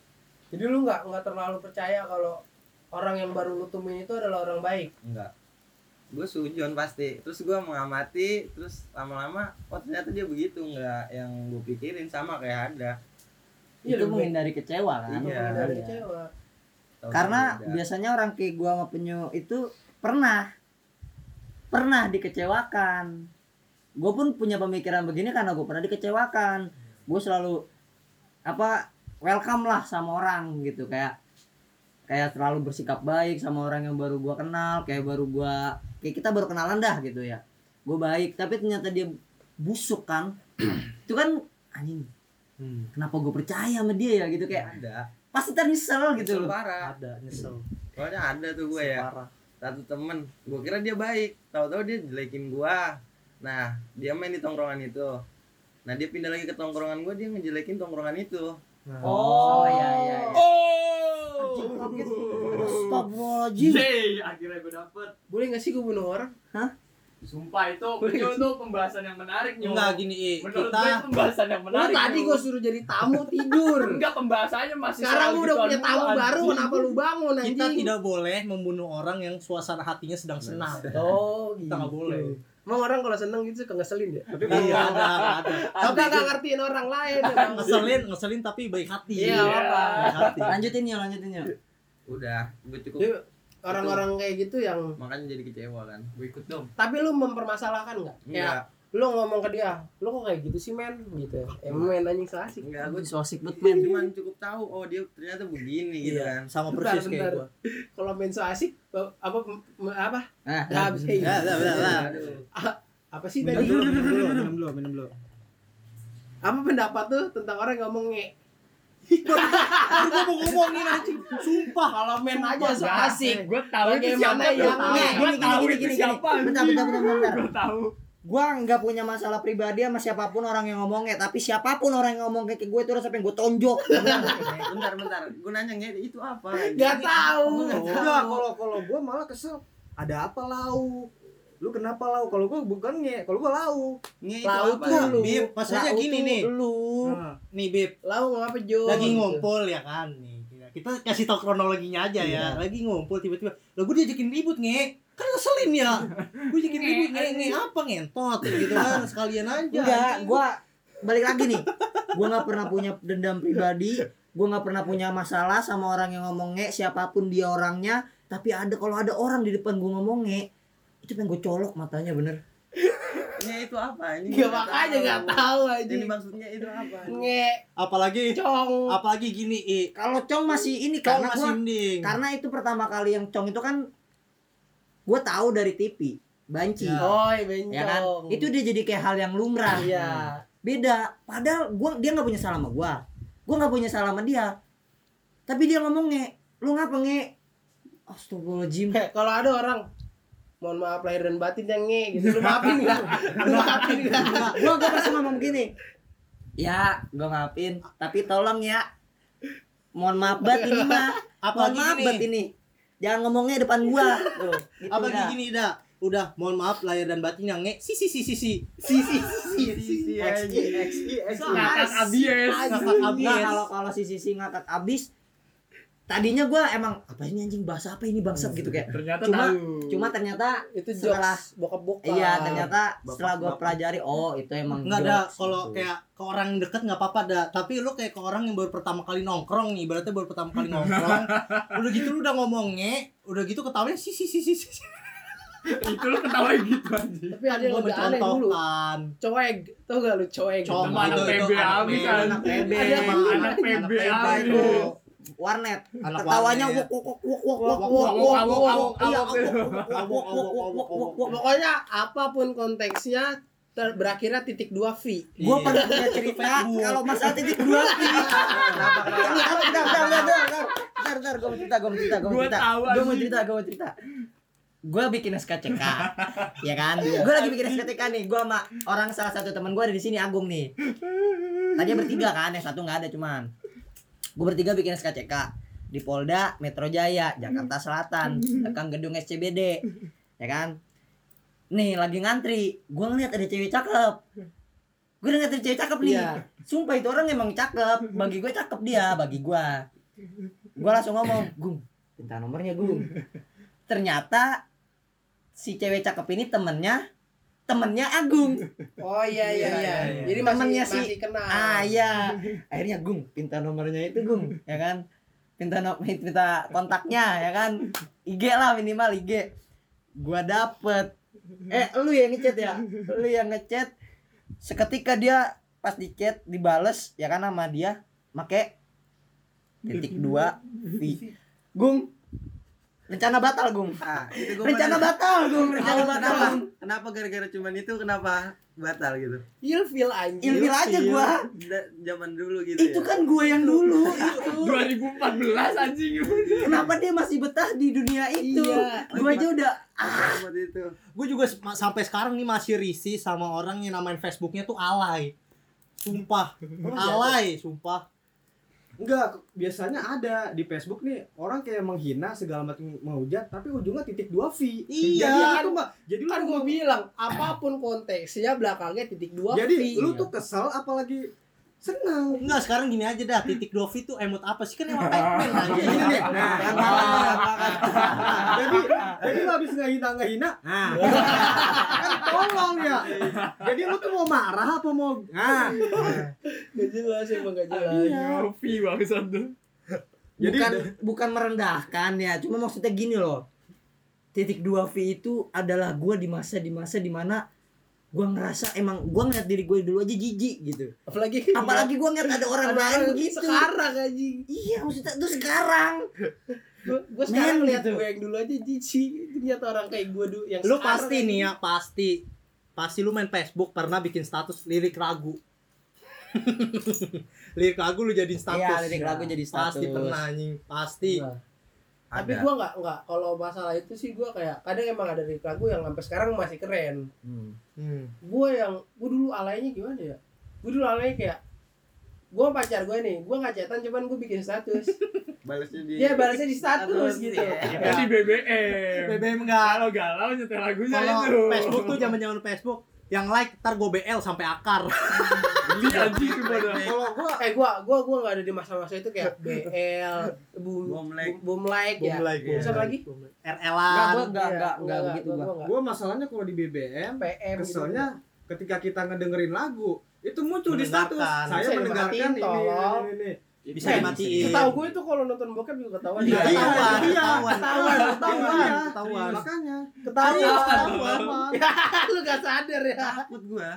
[SPEAKER 1] Jadi lu nggak nggak terlalu percaya kalau orang yang baru lu temuin itu adalah orang baik
[SPEAKER 7] Enggak. Gua sujon pasti. Terus gua mengamati, terus lama-lama oh ternyata dia begitu enggak yang gua pikirin sama kayak ada.
[SPEAKER 1] Iya,
[SPEAKER 3] itu
[SPEAKER 1] lebih
[SPEAKER 3] menghindari kecewa kan
[SPEAKER 7] Iya.
[SPEAKER 1] Bukan dari
[SPEAKER 3] Iya.
[SPEAKER 1] kecewa
[SPEAKER 7] Tahu
[SPEAKER 8] Karena
[SPEAKER 7] beda.
[SPEAKER 8] biasanya orang kayak gua sama penyu itu pernah pernah dikecewakan.
[SPEAKER 3] gue pun punya pemikiran begini karena gue pernah dikecewakan gue selalu apa welcome lah sama orang gitu kayak kayak terlalu bersikap baik sama orang yang baru gue kenal kayak baru gue kayak kita baru kenalan dah gitu ya gue baik tapi ternyata dia busuk kan itu kan anjing
[SPEAKER 2] Hmm.
[SPEAKER 3] kenapa gue percaya sama dia ya gitu kayak
[SPEAKER 7] ada.
[SPEAKER 3] pasti ternyesel gitu
[SPEAKER 7] Gitu
[SPEAKER 3] loh
[SPEAKER 7] parah.
[SPEAKER 4] ada nyesel
[SPEAKER 7] Soalnya ada tuh gua ya.
[SPEAKER 4] parah
[SPEAKER 7] satu temen gue kira dia baik tahu-tahu dia jelekin gua nah dia main di tongkrongan itu nah dia pindah lagi ke tongkrongan gue dia ngejelekin tongkrongan itu
[SPEAKER 2] Nah,
[SPEAKER 3] oh,
[SPEAKER 1] iya,
[SPEAKER 3] ya ya, ya.
[SPEAKER 8] Astagfirullahaladzim.
[SPEAKER 5] Yeay, akhirnya gue dapet.
[SPEAKER 1] boleh nggak sih gue bunuh orang
[SPEAKER 5] Sumpah itu, itu, itu pembahasan yang menarik
[SPEAKER 4] Iya.
[SPEAKER 5] Nyu.
[SPEAKER 4] enggak gini I.
[SPEAKER 5] Menurut gue itu
[SPEAKER 4] kita
[SPEAKER 5] pembahasan yang
[SPEAKER 1] lu
[SPEAKER 5] menarik.
[SPEAKER 1] tadi
[SPEAKER 3] ya,
[SPEAKER 5] Nyu.
[SPEAKER 1] gue suruh jadi tamu tidur
[SPEAKER 5] enggak pembahasannya masih
[SPEAKER 1] sekarang
[SPEAKER 5] soal
[SPEAKER 1] lu udah
[SPEAKER 5] gituan
[SPEAKER 1] punya tamu
[SPEAKER 5] mulu,
[SPEAKER 1] baru
[SPEAKER 5] anjing.
[SPEAKER 1] kenapa lu bangun
[SPEAKER 4] gitu, kita
[SPEAKER 1] anjing
[SPEAKER 4] tidak boleh membunuh orang yang suasana hatinya sedang senang
[SPEAKER 1] oh gitu
[SPEAKER 4] kita nggak boleh
[SPEAKER 1] Emang orang kalau seneng gitu suka ngeselin ya?
[SPEAKER 2] tapi kalau
[SPEAKER 4] iya ada ada
[SPEAKER 1] Tapi
[SPEAKER 4] tapi
[SPEAKER 1] gak ngertiin orang lain ya
[SPEAKER 4] Iya,
[SPEAKER 1] bang.
[SPEAKER 4] ngeselin ngeselin tapi baik hati
[SPEAKER 1] Iya, apa?
[SPEAKER 4] baik hati
[SPEAKER 3] lanjutin ya lanjutin ya
[SPEAKER 7] udah gue cukup
[SPEAKER 1] Jadi, Orang-orang kayak gitu yang
[SPEAKER 7] makanya jadi kecewa kan
[SPEAKER 5] Gue ikut dong.
[SPEAKER 1] tapi lu mempermasalahkan nggak?
[SPEAKER 4] Iya.
[SPEAKER 1] Kayak
[SPEAKER 7] enggak
[SPEAKER 1] lu ngomong ke dia, lu kok kayak gitu sih men gitu. Eh men anjing salah sih.
[SPEAKER 7] enggak gue
[SPEAKER 3] sosik bet men
[SPEAKER 7] cuman cukup tahu oh dia ternyata begini gitu
[SPEAKER 4] Iya,
[SPEAKER 7] kan
[SPEAKER 4] sama
[SPEAKER 1] Bentar,
[SPEAKER 4] persis kayak
[SPEAKER 1] bentar.
[SPEAKER 4] gua.
[SPEAKER 1] Kalau men so asik eh, apa apa
[SPEAKER 3] nah,
[SPEAKER 1] apa,
[SPEAKER 4] Ya, udah, udah, udah.
[SPEAKER 7] Aduh.
[SPEAKER 1] apa sih
[SPEAKER 2] minum
[SPEAKER 1] tadi?
[SPEAKER 2] dulu, minum dulu, minum dulu, minum dulu.
[SPEAKER 1] Apa pendapat tuh tentang orang yang ngomong nge?
[SPEAKER 4] Gua mau ngomongin anjing. Sumpah.
[SPEAKER 1] Kalau men aja so asik.
[SPEAKER 5] Gue tahu itu
[SPEAKER 1] Bagaimana
[SPEAKER 5] siapa.
[SPEAKER 1] ya? Nggak,
[SPEAKER 5] Gue
[SPEAKER 3] gini,
[SPEAKER 5] tahu
[SPEAKER 3] gini,
[SPEAKER 5] itu
[SPEAKER 3] gini, gini.
[SPEAKER 5] siapa.
[SPEAKER 3] Bentar, bentar, bentar, bentar.
[SPEAKER 5] Gue tahu.
[SPEAKER 3] gua nggak punya masalah pribadi sama siapapun orang yang ngomongnya tapi siapapun orang yang ngomong kayak gue itu harus sampai gue tonjok
[SPEAKER 7] Eh, bentar bentar gue nanya "Nge, itu apa
[SPEAKER 1] Gak tahu.
[SPEAKER 2] Enggak, kalau kalau gua malah kesel. Ada apa lau? Lu kenapa lau? Kalau gua bukan nge, kalau gua lau.
[SPEAKER 7] nge itu
[SPEAKER 1] Lau
[SPEAKER 7] apa
[SPEAKER 1] tuh lu.
[SPEAKER 4] Bib, maksudnya
[SPEAKER 1] Lau
[SPEAKER 4] gini
[SPEAKER 1] tuh
[SPEAKER 4] nih.
[SPEAKER 1] Lu.
[SPEAKER 2] Nah,
[SPEAKER 4] Nih Bib,
[SPEAKER 1] Lau ngapa Jo?
[SPEAKER 4] lagi
[SPEAKER 1] Gitu.
[SPEAKER 4] ngumpul ya kan nih. Kita kasih tau kronologinya aja ya. Lagi ngumpul tiba-tiba, "Lah gua diajakin ribut, Nge." Kan ngeselin ya. Gua diajakin
[SPEAKER 5] Nge,
[SPEAKER 4] ribut, Nge, nge apa ngentot gitu kan sekalian aja.
[SPEAKER 3] enggak gue balik lagi nih gue nggak pernah punya dendam pribadi gue nggak pernah punya masalah sama orang yang ngomongnya siapapun dia orangnya tapi ada kalau ada orang di depan gue ngomongnya itu pengen gue colok matanya bener
[SPEAKER 7] nge itu apa ini
[SPEAKER 1] Gak Ya, makanya gak tahu aja.
[SPEAKER 7] Iya. ini maksudnya itu apa
[SPEAKER 1] Nge
[SPEAKER 4] Apalagi
[SPEAKER 1] cong.
[SPEAKER 4] apalagi gini, I.
[SPEAKER 3] kalau cong masih ini
[SPEAKER 4] Kau
[SPEAKER 3] karena
[SPEAKER 4] masih
[SPEAKER 3] gue
[SPEAKER 4] mending.
[SPEAKER 3] karena itu pertama kali yang cong itu kan gue tahu dari TV banci
[SPEAKER 1] Oi
[SPEAKER 3] ya kan
[SPEAKER 1] bencong.
[SPEAKER 3] itu dia jadi kayak hal yang lumrah
[SPEAKER 1] Oh. Iya.
[SPEAKER 3] beda padahal gua dia nggak punya salah sama gua gua nggak punya salah sama dia tapi dia ngomong nge lu ngapa nge astagfirullahaladzim
[SPEAKER 1] Kayak kalau ada orang mohon maaf lahir dan batin yang nge gitu lu maafin nggak lu maafin nggak
[SPEAKER 3] Nah, gua gua pasti ngomong gini ya gua ngapain tapi tolong ya mohon maaf banget ini mah mohon
[SPEAKER 4] Apalagi
[SPEAKER 3] maaf banget
[SPEAKER 4] gini.
[SPEAKER 3] ini jangan ngomongnya depan gua Tuh, gitu
[SPEAKER 4] Apalagi
[SPEAKER 3] dah.
[SPEAKER 4] gini, dah. Udah, mohon maaf lahir dan batin yang nge. Si si si si si.
[SPEAKER 1] si si si si Nah,
[SPEAKER 5] Ngakak abies.
[SPEAKER 4] Kakak
[SPEAKER 3] Nah,
[SPEAKER 4] abis.
[SPEAKER 3] kalau kalau si sisi ngakak abis tadinya gua emang apa ini anjing bahasa apa ini bangsat gitu kayak
[SPEAKER 5] Ternyata
[SPEAKER 3] Cuma-
[SPEAKER 5] tahu.
[SPEAKER 3] cuma ternyata
[SPEAKER 1] itu
[SPEAKER 3] Setelah-
[SPEAKER 1] jokes bokap bokap
[SPEAKER 3] Iya ternyata
[SPEAKER 4] Bapak-
[SPEAKER 3] setelah gue
[SPEAKER 4] bapak.
[SPEAKER 3] pelajari oh itu emang
[SPEAKER 4] Enggak ada
[SPEAKER 3] jokes
[SPEAKER 4] kalau
[SPEAKER 3] gitu.
[SPEAKER 4] kayak ke orang yang deket nggak apa-apa dah tapi lu kayak ke orang yang baru pertama kali nongkrong nih ibaratnya baru pertama kali nongkrong udah gitu lu udah ngomongnya udah gitu ketawanya si si si si si
[SPEAKER 5] Itu lu ketawa gitu anjing.
[SPEAKER 1] tapi ada yang
[SPEAKER 4] Gua
[SPEAKER 1] lebih aneh dulu
[SPEAKER 4] mencontohkan
[SPEAKER 1] coeg tau gak lu coeg
[SPEAKER 4] Coeg.
[SPEAKER 5] Sama anak
[SPEAKER 4] Itu- itu
[SPEAKER 5] PB
[SPEAKER 4] anak
[SPEAKER 5] abis
[SPEAKER 4] PB,
[SPEAKER 5] anjing.
[SPEAKER 3] anak PB.
[SPEAKER 5] Ada Anak
[SPEAKER 4] Anak
[SPEAKER 5] PB
[SPEAKER 4] PB itu.
[SPEAKER 5] abis.
[SPEAKER 3] warnet
[SPEAKER 4] anak
[SPEAKER 3] ketawanya
[SPEAKER 4] warnet.
[SPEAKER 3] wok wok wok wok wok wok
[SPEAKER 4] Wok,
[SPEAKER 3] wok
[SPEAKER 4] wok,
[SPEAKER 3] wok
[SPEAKER 4] wok,
[SPEAKER 3] wok
[SPEAKER 4] wok,
[SPEAKER 3] iya,
[SPEAKER 4] wok,
[SPEAKER 3] wok, wok, wok,
[SPEAKER 4] wok,
[SPEAKER 3] wok, wok,
[SPEAKER 4] wok,
[SPEAKER 3] wok, wok, wok, wok.
[SPEAKER 1] pokoknya apapun konteksnya ter- berakhirnya titik dua V.
[SPEAKER 3] Iya.
[SPEAKER 8] Gua pernah punya cerita kalau masalah titik dua
[SPEAKER 3] Bentar, bentar, bentar, bentar, bentar. Bentar, bentar, gue mau cerita, gue mau cerita, gue mau
[SPEAKER 5] Gua
[SPEAKER 3] cerita.
[SPEAKER 5] tahu,
[SPEAKER 3] Gue mau
[SPEAKER 5] anjing.
[SPEAKER 3] cerita, gue mau cerita. Gue bikin SKCK, ya kan? Gue lagi bikin SKCK nih. Gue sama orang salah satu teman gue ada di sini Agung nih. Tadi bertiga kan, yang satu nggak ada cuman. Gue bertiga bikin SKCK di Polda Metro Jaya Jakarta Selatan dekat gedung SCBD ya kan nih lagi ngantri gue ngeliat ada cewek cakep gue ngeliat ada cewek cakep nih
[SPEAKER 1] Iya.
[SPEAKER 3] sumpah itu orang emang cakep bagi gue cakep dia bagi gue gue langsung ngomong gung minta nomornya gung ternyata si cewek cakep ini temennya temennya Agung
[SPEAKER 1] Oh iya iya iya.
[SPEAKER 2] iya.
[SPEAKER 1] Jadi masih
[SPEAKER 3] Temennya si-
[SPEAKER 1] masih kenal.
[SPEAKER 3] ah iya akhirnya Gung minta nomornya itu Gung ya kan minta no, minta kontaknya ya kan IG lah minimal IG gua dapet eh lu yang ngechat ya lu yang ngechat seketika dia pas di chat dibales ya kan sama dia make titik dua V Gung rencana batal Gung
[SPEAKER 7] Nah, itu gua
[SPEAKER 3] rencana
[SPEAKER 7] batal.
[SPEAKER 3] batal Gung rencana batal
[SPEAKER 7] Kenapa?
[SPEAKER 3] Gung.
[SPEAKER 7] Kenapa gara-gara cuman itu kenapa batal gitu?
[SPEAKER 1] Ilfil anjing.
[SPEAKER 3] ilfil aja gua
[SPEAKER 7] Da- zaman dulu gitu
[SPEAKER 3] itu
[SPEAKER 7] ya.
[SPEAKER 3] kan gue yang dulu itu
[SPEAKER 5] 2014 anjing.
[SPEAKER 3] kenapa dia masih betah di dunia itu
[SPEAKER 1] Iya.
[SPEAKER 3] gue aja udah
[SPEAKER 7] Zaman itu.
[SPEAKER 4] gue juga sep- sampai sekarang nih masih risih sama orang yang namain Facebooknya tuh alay sumpah alay sumpah
[SPEAKER 2] Enggak, biasanya ada di Facebook nih orang kayak menghina segala macam menghujat tapi ujungnya titik dua V.
[SPEAKER 4] Iya.
[SPEAKER 2] Jadi lu tuh, Mbak, jadi lu
[SPEAKER 1] Kan
[SPEAKER 2] tuh
[SPEAKER 1] gua bilang apapun konteksnya belakangnya titik dua
[SPEAKER 2] Jadi
[SPEAKER 1] V.
[SPEAKER 2] lu tuh kesel apalagi senang.
[SPEAKER 4] enggak sekarang gini aja dah titik dovi tuh emot apa sih kan emang Pac-Man
[SPEAKER 3] Iya,
[SPEAKER 2] Gini
[SPEAKER 4] anjing.
[SPEAKER 2] nih. Nah, jadi jadi lu habis ngehina ngehina. Nah. kan tolong ya. Jadi lu tuh mau marah apa mau nah.
[SPEAKER 1] Gak jelas emang gak jelas.
[SPEAKER 5] Yofi bangsat tuh.
[SPEAKER 2] Jadi
[SPEAKER 3] bukan bukan merendahkan ya cuma maksudnya gini loh titik dua V itu adalah gue di masa di masa dimana gue ngerasa emang gue ngeliat diri gue dulu aja jijik gitu
[SPEAKER 1] Apalagi
[SPEAKER 3] apalagi gue ngeliat ada orang gitu.
[SPEAKER 1] Ada
[SPEAKER 3] lain
[SPEAKER 1] orang
[SPEAKER 3] begitu
[SPEAKER 1] sekarang anjing.
[SPEAKER 3] iya maksudnya tuh sekarang
[SPEAKER 1] Gua, gua sekarang
[SPEAKER 3] Men,
[SPEAKER 1] lihat
[SPEAKER 3] gitu.
[SPEAKER 1] gue yang dulu aja jijik. Ternyata orang kayak gue dulu yang
[SPEAKER 4] lu
[SPEAKER 1] sekarang
[SPEAKER 4] pasti
[SPEAKER 1] anjing.
[SPEAKER 4] nih ya pasti pasti lu main Facebook pernah bikin status lirik lagu lirik lagu lu jadi status
[SPEAKER 3] Iya, lirik lagu jadi
[SPEAKER 4] pasti
[SPEAKER 3] status. Iya.
[SPEAKER 4] pernah anjing pasti
[SPEAKER 1] Nah. tapi gue nggak nggak kalau masalah itu sih gue kayak kadang emang ada lirik lagu yang sampai sekarang masih keren
[SPEAKER 4] Hmm.
[SPEAKER 1] gue yang gue dulu alaynya gimana ya gue dulu alaynya kayak gue pacar gue nih gue nggak chatan cuman gue bikin status
[SPEAKER 7] Balasnya
[SPEAKER 1] dia
[SPEAKER 7] di
[SPEAKER 1] Iya, balasnya di status
[SPEAKER 7] Status,
[SPEAKER 1] gitu
[SPEAKER 7] iya.
[SPEAKER 5] Kan di
[SPEAKER 3] Iya.
[SPEAKER 5] BBM.
[SPEAKER 4] BBM enggak
[SPEAKER 5] Kalau galau nyetel lagunya
[SPEAKER 4] ya.
[SPEAKER 5] itu.
[SPEAKER 4] kalau Facebook tuh zaman zaman Facebook yang like ntar gue BL sampai akar
[SPEAKER 3] Iya.
[SPEAKER 5] Di anjing itu bodoh.
[SPEAKER 2] kalau gua
[SPEAKER 1] eh gue gue gue nggak ada di masa-masa itu kayak BL boom
[SPEAKER 7] Boom like.
[SPEAKER 1] boom like ya
[SPEAKER 4] Boom like, boom
[SPEAKER 3] Iya.
[SPEAKER 1] Terus apa lagi
[SPEAKER 4] RL-an
[SPEAKER 3] Nggak, nggak, nggak
[SPEAKER 1] Iya, Gua
[SPEAKER 3] begitu
[SPEAKER 1] gua-
[SPEAKER 3] gua.
[SPEAKER 1] gua nggak.
[SPEAKER 2] gua masalahnya kalau di BBM
[SPEAKER 1] PM gitu.
[SPEAKER 2] keselnya ketika kita ngedengerin lagu itu muncul di status
[SPEAKER 4] Mendengarkan.
[SPEAKER 2] saya
[SPEAKER 1] Bisa
[SPEAKER 2] mendengarkan
[SPEAKER 1] dimatiin,
[SPEAKER 2] ini ini,
[SPEAKER 1] tolong.
[SPEAKER 2] ini, ini.
[SPEAKER 4] bisa
[SPEAKER 7] Iya,
[SPEAKER 4] dimatiin
[SPEAKER 1] Tahu gue itu kalau nonton bokep juga ketahuan.
[SPEAKER 4] Iya,
[SPEAKER 1] Ketahuan.
[SPEAKER 4] ketahuan
[SPEAKER 2] iya.
[SPEAKER 4] ketahuan ketahuan Iya. ketahuan
[SPEAKER 2] Iya,
[SPEAKER 4] ketahuan
[SPEAKER 2] makanya
[SPEAKER 1] Ketahuan.
[SPEAKER 2] Ketahuan.
[SPEAKER 1] Lu gak sadar ya.
[SPEAKER 7] takut gua.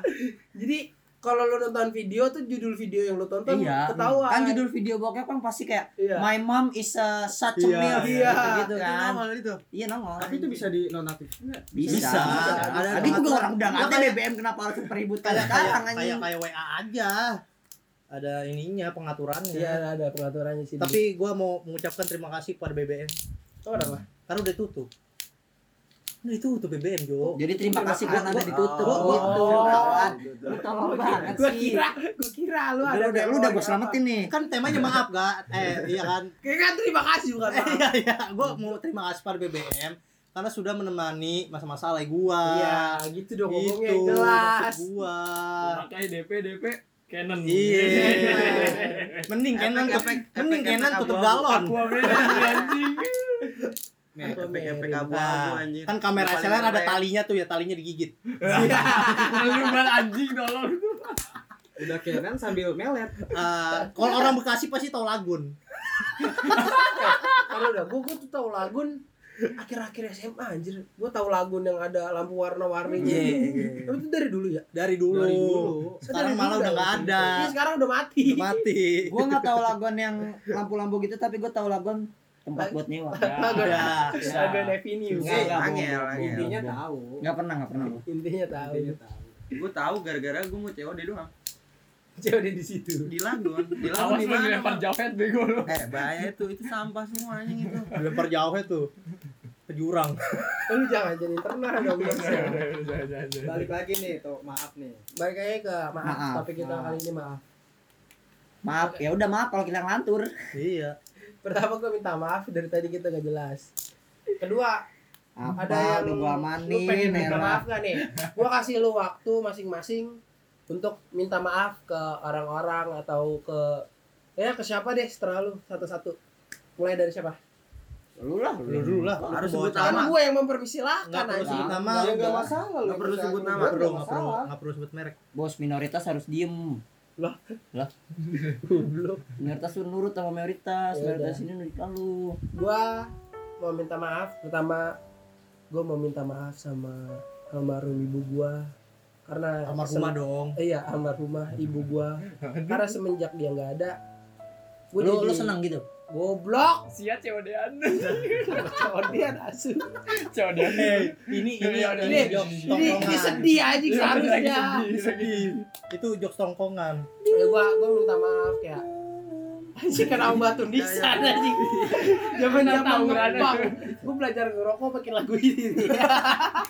[SPEAKER 1] Jadi kalau lu nonton video tuh judul video yang lu tonton
[SPEAKER 3] iya
[SPEAKER 1] ketahuan.
[SPEAKER 3] kan judul video bokep kan pasti kayak
[SPEAKER 1] Iya.
[SPEAKER 3] my mom is a such a
[SPEAKER 2] Iya,
[SPEAKER 3] milf
[SPEAKER 1] iya.
[SPEAKER 3] gitu kan
[SPEAKER 7] Awal itu.
[SPEAKER 3] iya nongol
[SPEAKER 2] tapi itu bisa dinonaktifkan nggak?
[SPEAKER 3] bisa,
[SPEAKER 4] Bisa.
[SPEAKER 3] ada
[SPEAKER 4] Ada
[SPEAKER 3] tadi juga
[SPEAKER 4] pengaturan.
[SPEAKER 3] orang udah nggak ada
[SPEAKER 4] Makanya-
[SPEAKER 3] BBM kenapa harus dipeributkan
[SPEAKER 4] kayak kayak
[SPEAKER 3] sekarang
[SPEAKER 4] kayak
[SPEAKER 3] anjing
[SPEAKER 4] kayak WA aja kan, ada ininya pengaturannya
[SPEAKER 1] Iya ada pengaturannya sih.
[SPEAKER 4] Tapi gua mau mengucapkan terima kasih kepada BBM
[SPEAKER 1] oh, kenapa?
[SPEAKER 4] karena udah tutup. Udah tutup BBM Jo.
[SPEAKER 3] jadi terima kasih buat anda ditutup
[SPEAKER 1] Oh.
[SPEAKER 3] gitu kawan lu tolong banget
[SPEAKER 1] Gua
[SPEAKER 3] sih
[SPEAKER 1] kira, gua kira lu
[SPEAKER 3] Udah,
[SPEAKER 1] ada.
[SPEAKER 3] udah, lu udah gue selamatin nih
[SPEAKER 4] Kan temanya maaf gak? Eh iya kan.
[SPEAKER 1] Kayaknya kan terima kasih bukan
[SPEAKER 4] Eh, Iya iya. Gua mau terima kasih pada BBM karena sudah menemani masa-masa alay gua.
[SPEAKER 1] Iya, gitu dong
[SPEAKER 4] Gitu,
[SPEAKER 1] ngomongnya jelas.
[SPEAKER 4] maksud gua.
[SPEAKER 5] Pakai DP DP Canon.
[SPEAKER 4] Ah. Iya. Mending Canon
[SPEAKER 7] Efek-
[SPEAKER 4] tutup
[SPEAKER 7] efek-
[SPEAKER 4] mending
[SPEAKER 7] efek-
[SPEAKER 4] Canon
[SPEAKER 7] efek
[SPEAKER 4] tutup
[SPEAKER 7] abu-abu.
[SPEAKER 4] galon.
[SPEAKER 5] Gua beda sih, anjing.
[SPEAKER 7] Nih,
[SPEAKER 1] Apa
[SPEAKER 7] efek-efek
[SPEAKER 1] Mary?
[SPEAKER 7] abu-abu
[SPEAKER 4] Nah,
[SPEAKER 7] anjir.
[SPEAKER 4] kan kamera
[SPEAKER 7] Paling
[SPEAKER 4] SLR ada
[SPEAKER 7] keren.
[SPEAKER 4] talinya tuh ya, talinya digigit.
[SPEAKER 5] Lu bal anjing tolong.
[SPEAKER 2] udah kenan sambil melet
[SPEAKER 4] Eh, kalau orang Bekasi pasti tahu lagun.
[SPEAKER 1] Kalau udah gua gua tuh tahu lagun akhir-akhir SMA anjir. Gua tahu lagun yang ada lampu warna-warni gitu. Tapi itu dari dulu ya.
[SPEAKER 4] Dari dulu.
[SPEAKER 2] Dari dulu.
[SPEAKER 4] Sekarang
[SPEAKER 1] Dari
[SPEAKER 4] malah
[SPEAKER 1] dulu
[SPEAKER 4] udah nggak ada.
[SPEAKER 1] Iya, sekarang udah mati.
[SPEAKER 4] Udah mati.
[SPEAKER 3] gue nggak tahu laguan yang lampu-lampu gitu tapi gue tahu laguan tempat buat nyewa
[SPEAKER 1] Lagun
[SPEAKER 4] Udah.
[SPEAKER 1] Lagun Avenue. Iya.
[SPEAKER 3] Enggak, enggak,
[SPEAKER 5] Iya,
[SPEAKER 7] Angel,
[SPEAKER 3] bohong, bohong,
[SPEAKER 2] Iya.
[SPEAKER 7] angel.
[SPEAKER 3] bohong.
[SPEAKER 2] tahu
[SPEAKER 3] nggak pernah nggak pernah gua.
[SPEAKER 1] Intinya tahu.
[SPEAKER 2] tahu
[SPEAKER 5] kan.
[SPEAKER 7] gue tahu gara-gara gue mau COD doang
[SPEAKER 1] Cewek dia di situ.
[SPEAKER 7] di lagun di lagun
[SPEAKER 5] Awas
[SPEAKER 7] di
[SPEAKER 5] lu dilempar
[SPEAKER 7] mana
[SPEAKER 5] javet bego lu.
[SPEAKER 7] eh bahaya itu itu sampah semua anjing itu
[SPEAKER 4] dilempar jauh tuh ke jurang
[SPEAKER 1] Oh, Lu jangan jadi internal dong. Bos.
[SPEAKER 9] balik lagi nih tuh maaf nih
[SPEAKER 1] Balik aja ke maaf,
[SPEAKER 8] Maaf.
[SPEAKER 1] topik kita
[SPEAKER 9] Maaf.
[SPEAKER 1] kali ini maaf.
[SPEAKER 8] Maaf, ya udah maaf kalau kita ngelantur.
[SPEAKER 4] iya
[SPEAKER 1] Pertama gue minta maaf dari tadi kita gak jelas. Kedua,
[SPEAKER 8] Apa
[SPEAKER 1] Ada yang
[SPEAKER 8] udah gua
[SPEAKER 1] lu
[SPEAKER 8] amanin
[SPEAKER 1] pengen minta
[SPEAKER 8] merah.
[SPEAKER 1] maaf gak nih? Gue kasih lu waktu masing-masing untuk minta maaf ke orang-orang atau ke ya ke siapa deh setelah lu satu-satu. Mulai dari siapa?
[SPEAKER 8] Lu lah, lu.
[SPEAKER 4] lu dulu lah
[SPEAKER 7] Kok
[SPEAKER 4] lu
[SPEAKER 7] harus
[SPEAKER 4] bawa
[SPEAKER 7] sebut
[SPEAKER 4] cara.
[SPEAKER 7] Nama.
[SPEAKER 1] Kan gue yang mempermisilahkan
[SPEAKER 4] nggak perlu
[SPEAKER 1] aja.
[SPEAKER 4] sebut nama
[SPEAKER 9] ya
[SPEAKER 4] nggak
[SPEAKER 9] nggak masalah lu
[SPEAKER 7] Nggak perlu
[SPEAKER 9] bisa-
[SPEAKER 7] sebut nama.
[SPEAKER 9] nggak
[SPEAKER 4] perlu
[SPEAKER 9] perlu
[SPEAKER 4] nggak perlu
[SPEAKER 9] masalah
[SPEAKER 4] nggak perlu sebut merek
[SPEAKER 3] Bos minoritas harus diem.
[SPEAKER 1] Lah?
[SPEAKER 3] Lah. minoritas lu nurut sama mayoritas.
[SPEAKER 1] Ya
[SPEAKER 3] mayoritas ini nurut sama lu.
[SPEAKER 1] Gue mau minta maaf. Pertama, gue mau minta maaf sama almarhum ibu gue karena
[SPEAKER 4] almarhumah dong
[SPEAKER 1] Eh, Iya, almarhumah ibu gua. Karena semenjak dia nggak ada, gua
[SPEAKER 3] Lu
[SPEAKER 1] jadi
[SPEAKER 3] lu senang gitu.
[SPEAKER 1] goblok.
[SPEAKER 5] Sia COD-an.
[SPEAKER 1] Codian asu.
[SPEAKER 5] COD-an.
[SPEAKER 4] ini
[SPEAKER 5] ini-
[SPEAKER 4] ini
[SPEAKER 5] ini-
[SPEAKER 4] ini jokes
[SPEAKER 1] Ini, ini
[SPEAKER 4] tongkongan
[SPEAKER 1] sedih aja seharusnya.
[SPEAKER 5] Lagi sedih.
[SPEAKER 4] itu jokes tongkongan
[SPEAKER 1] Ya gua gua minta maaf ya. Anjing kena obat tundisan anjing. Ya, Zaman-zaman
[SPEAKER 5] Tahu nggak ada.
[SPEAKER 1] ngebang. Gua belajar ngerokok pakai lagu ini.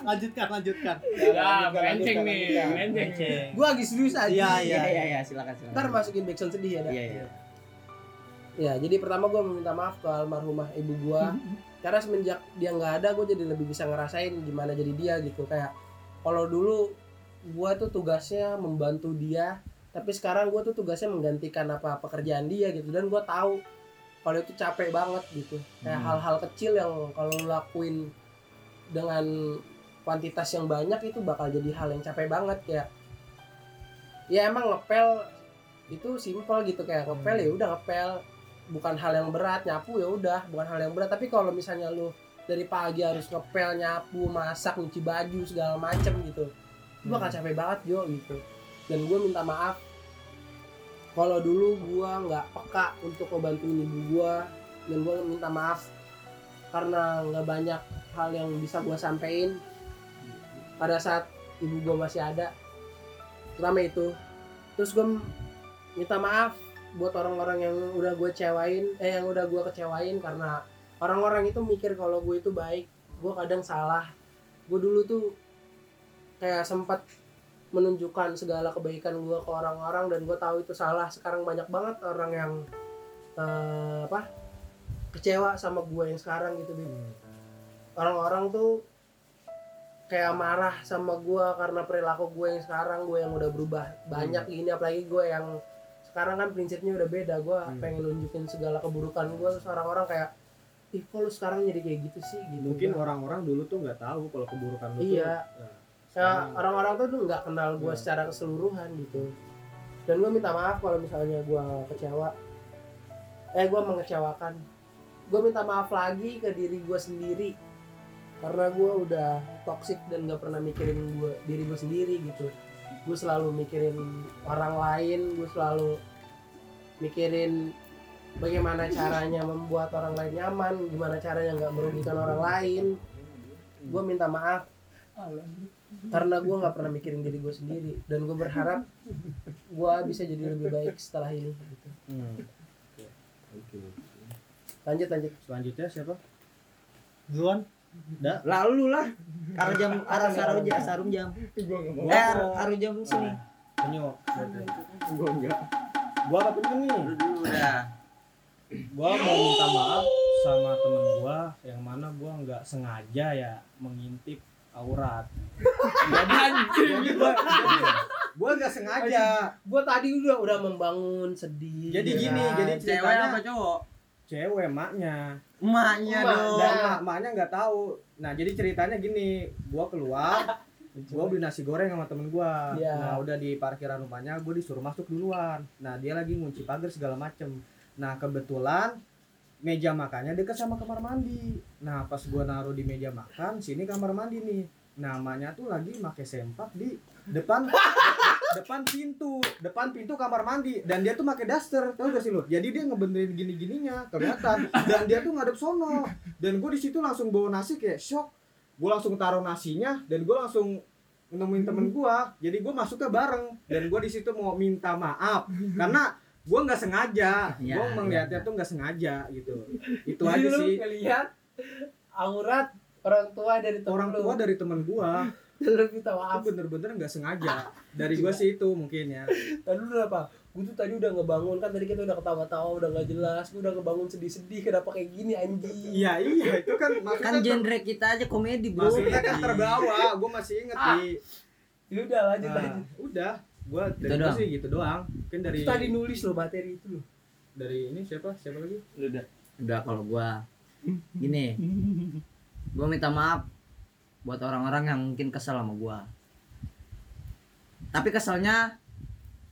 [SPEAKER 4] lanjutkan lanjutkan
[SPEAKER 5] Ya, melenceng nih, melenceng.
[SPEAKER 1] gua lagi serius aja.
[SPEAKER 4] Iya, iya.
[SPEAKER 3] ya, silakan silakan.
[SPEAKER 1] Ntar masukin backsound sedih ya. dah.
[SPEAKER 3] Iya iya.
[SPEAKER 1] Ya, jadi pertama gue meminta maaf ke almarhumah ibu gua karena semenjak dia nggak ada, gue jadi lebih bisa ngerasain gimana jadi dia gitu. Kayak kalau dulu gua tuh tugasnya membantu dia, tapi sekarang gua tuh tugasnya menggantikan apa pekerjaan dia gitu. Dan gua tahu kalau itu capek banget gitu. Kayak hal-hal kecil yang kalau lu lakuin dengan kuantitas yang banyak itu bakal jadi hal yang capek banget kayak ya emang ngepel itu simpel gitu kayak ngepel ya udah ngepel bukan hal yang berat nyapu ya udah bukan hal yang berat tapi kalau misalnya lu dari pagi harus ngepel nyapu masak nyuci baju segala macem gitu itu bakal capek banget Jo gitu dan gue minta maaf kalau dulu gue nggak peka untuk ngebantuin ibu gue dan gue minta maaf karena nggak banyak hal yang bisa gue sampein pada saat ibu gue masih ada pertama itu terus gue minta maaf buat orang-orang yang udah gue cewain eh yang udah gue kecewain karena orang-orang itu mikir kalau gue itu baik gue kadang salah gue dulu tuh kayak sempat menunjukkan segala kebaikan gue ke orang-orang dan gue tahu itu salah sekarang banyak banget orang yang eh, apa kecewa sama gue yang sekarang gitu Bim. orang-orang tuh kayak marah sama gue karena perilaku gue yang sekarang gue yang udah berubah banyak gini apalagi gue yang sekarang kan prinsipnya udah beda gue pengen nunjukin segala keburukan gue terus orang-orang kayak ih kok lu sekarang jadi kayak gitu sih gitu
[SPEAKER 4] Iya.
[SPEAKER 2] mungkin orang-orang dulu tuh nggak tahu kalau keburukan lu
[SPEAKER 1] Iya.
[SPEAKER 2] tuh
[SPEAKER 1] Ya, orang-orang tuh tuh nggak kenal
[SPEAKER 2] Iya.
[SPEAKER 1] gue secara keseluruhan gitu. Dan gue minta maaf kalau misalnya gue kecewa. Eh, gue mengecewakan. Gue minta maaf lagi ke diri gue sendiri. Karena gue udah toxic dan gak pernah mikirin gue diri gue sendiri gitu. Gue selalu mikirin orang lain. Gue selalu mikirin bagaimana caranya membuat orang lain nyaman. Gimana caranya nggak merugikan orang lain. Gue minta maaf karena gue nggak pernah mikirin diri gue sendiri dan gue berharap gue bisa jadi lebih baik setelah ini gitu.
[SPEAKER 2] Hmm. oke
[SPEAKER 1] lanjut lanjut
[SPEAKER 2] selanjutnya siapa
[SPEAKER 4] duluan
[SPEAKER 8] Lalu lah. Arah jam arah sarum jam sarum jam. Eh, arah jam sini.
[SPEAKER 2] Penyu
[SPEAKER 5] Gua enggak.
[SPEAKER 2] gua apa penyu nih
[SPEAKER 7] Lu dulu udah
[SPEAKER 2] gua mau minta maaf sama temen gua yang mana gua nggak sengaja ya mengintip aurat jadi gua gua nggak sengaja
[SPEAKER 1] gue tadi udah udah membangun sedih
[SPEAKER 2] jadi
[SPEAKER 1] ya
[SPEAKER 4] Iya.
[SPEAKER 2] gini
[SPEAKER 1] kan?
[SPEAKER 2] jadi
[SPEAKER 7] cewek
[SPEAKER 2] ceritanya
[SPEAKER 7] apa cowok
[SPEAKER 2] cewek maknya
[SPEAKER 1] Emak.
[SPEAKER 3] Iya.
[SPEAKER 7] emaknya dong
[SPEAKER 2] dan mak- maknya nggak tahu nah jadi ceritanya gini gua keluar gua beli nasi goreng sama temen gua
[SPEAKER 1] Iya.
[SPEAKER 2] nah udah di parkiran rumahnya gua disuruh masuk duluan nah dia lagi ngunci pagar segala macem nah kebetulan meja makannya deket sama kamar mandi nah pas gua naruh di meja makan sini kamar mandi nih namanya tuh lagi pakai sempak di depan depan pintu depan pintu kamar mandi dan dia tuh pakai daster tau gak sih lu jadi dia ngebenerin gini gininya kelihatan dan dia tuh ngadep sono dan gue di situ langsung bawa nasi kayak shock gue langsung taruh nasinya dan gue langsung nemuin temen gua jadi gua masuknya bareng dan gua di situ mau minta maaf karena gua nggak sengaja
[SPEAKER 3] Ya,
[SPEAKER 2] gua
[SPEAKER 3] ya,
[SPEAKER 2] melihatnya
[SPEAKER 3] ya.
[SPEAKER 2] tuh nggak sengaja gitu itu
[SPEAKER 1] Jadi
[SPEAKER 2] aja
[SPEAKER 1] lu
[SPEAKER 2] sih
[SPEAKER 1] ngelihat aurat orang tua dari temen
[SPEAKER 2] orang
[SPEAKER 1] lu.
[SPEAKER 2] tua dari temen gua
[SPEAKER 1] lu minta
[SPEAKER 2] itu
[SPEAKER 1] maaf
[SPEAKER 2] bener-bener nggak sengaja dari gua sih itu mungkin ya
[SPEAKER 1] tadi lu apa gue tuh tadi udah ngebangun kan tadi kita udah ketawa-tawa udah nggak jelas gue udah ngebangun sedih-sedih kenapa kayak gini anjing
[SPEAKER 2] iya iya itu kan
[SPEAKER 8] kan
[SPEAKER 2] maksudnya
[SPEAKER 8] genre kita aja komedi bro
[SPEAKER 2] maksudnya kan terbawa gua masih inget di
[SPEAKER 1] ya udah lanjut
[SPEAKER 2] nah,
[SPEAKER 1] lanjut
[SPEAKER 2] udah gua dari
[SPEAKER 3] Itu
[SPEAKER 2] gua
[SPEAKER 3] doang.
[SPEAKER 2] sih gitu doang mungkin dari
[SPEAKER 1] itu tadi nulis lo materi itu lo
[SPEAKER 2] dari ini siapa siapa lagi
[SPEAKER 5] Udah.
[SPEAKER 3] udah kalau gua gini gua minta maaf buat orang-orang yang mungkin kesel sama gua tapi keselnya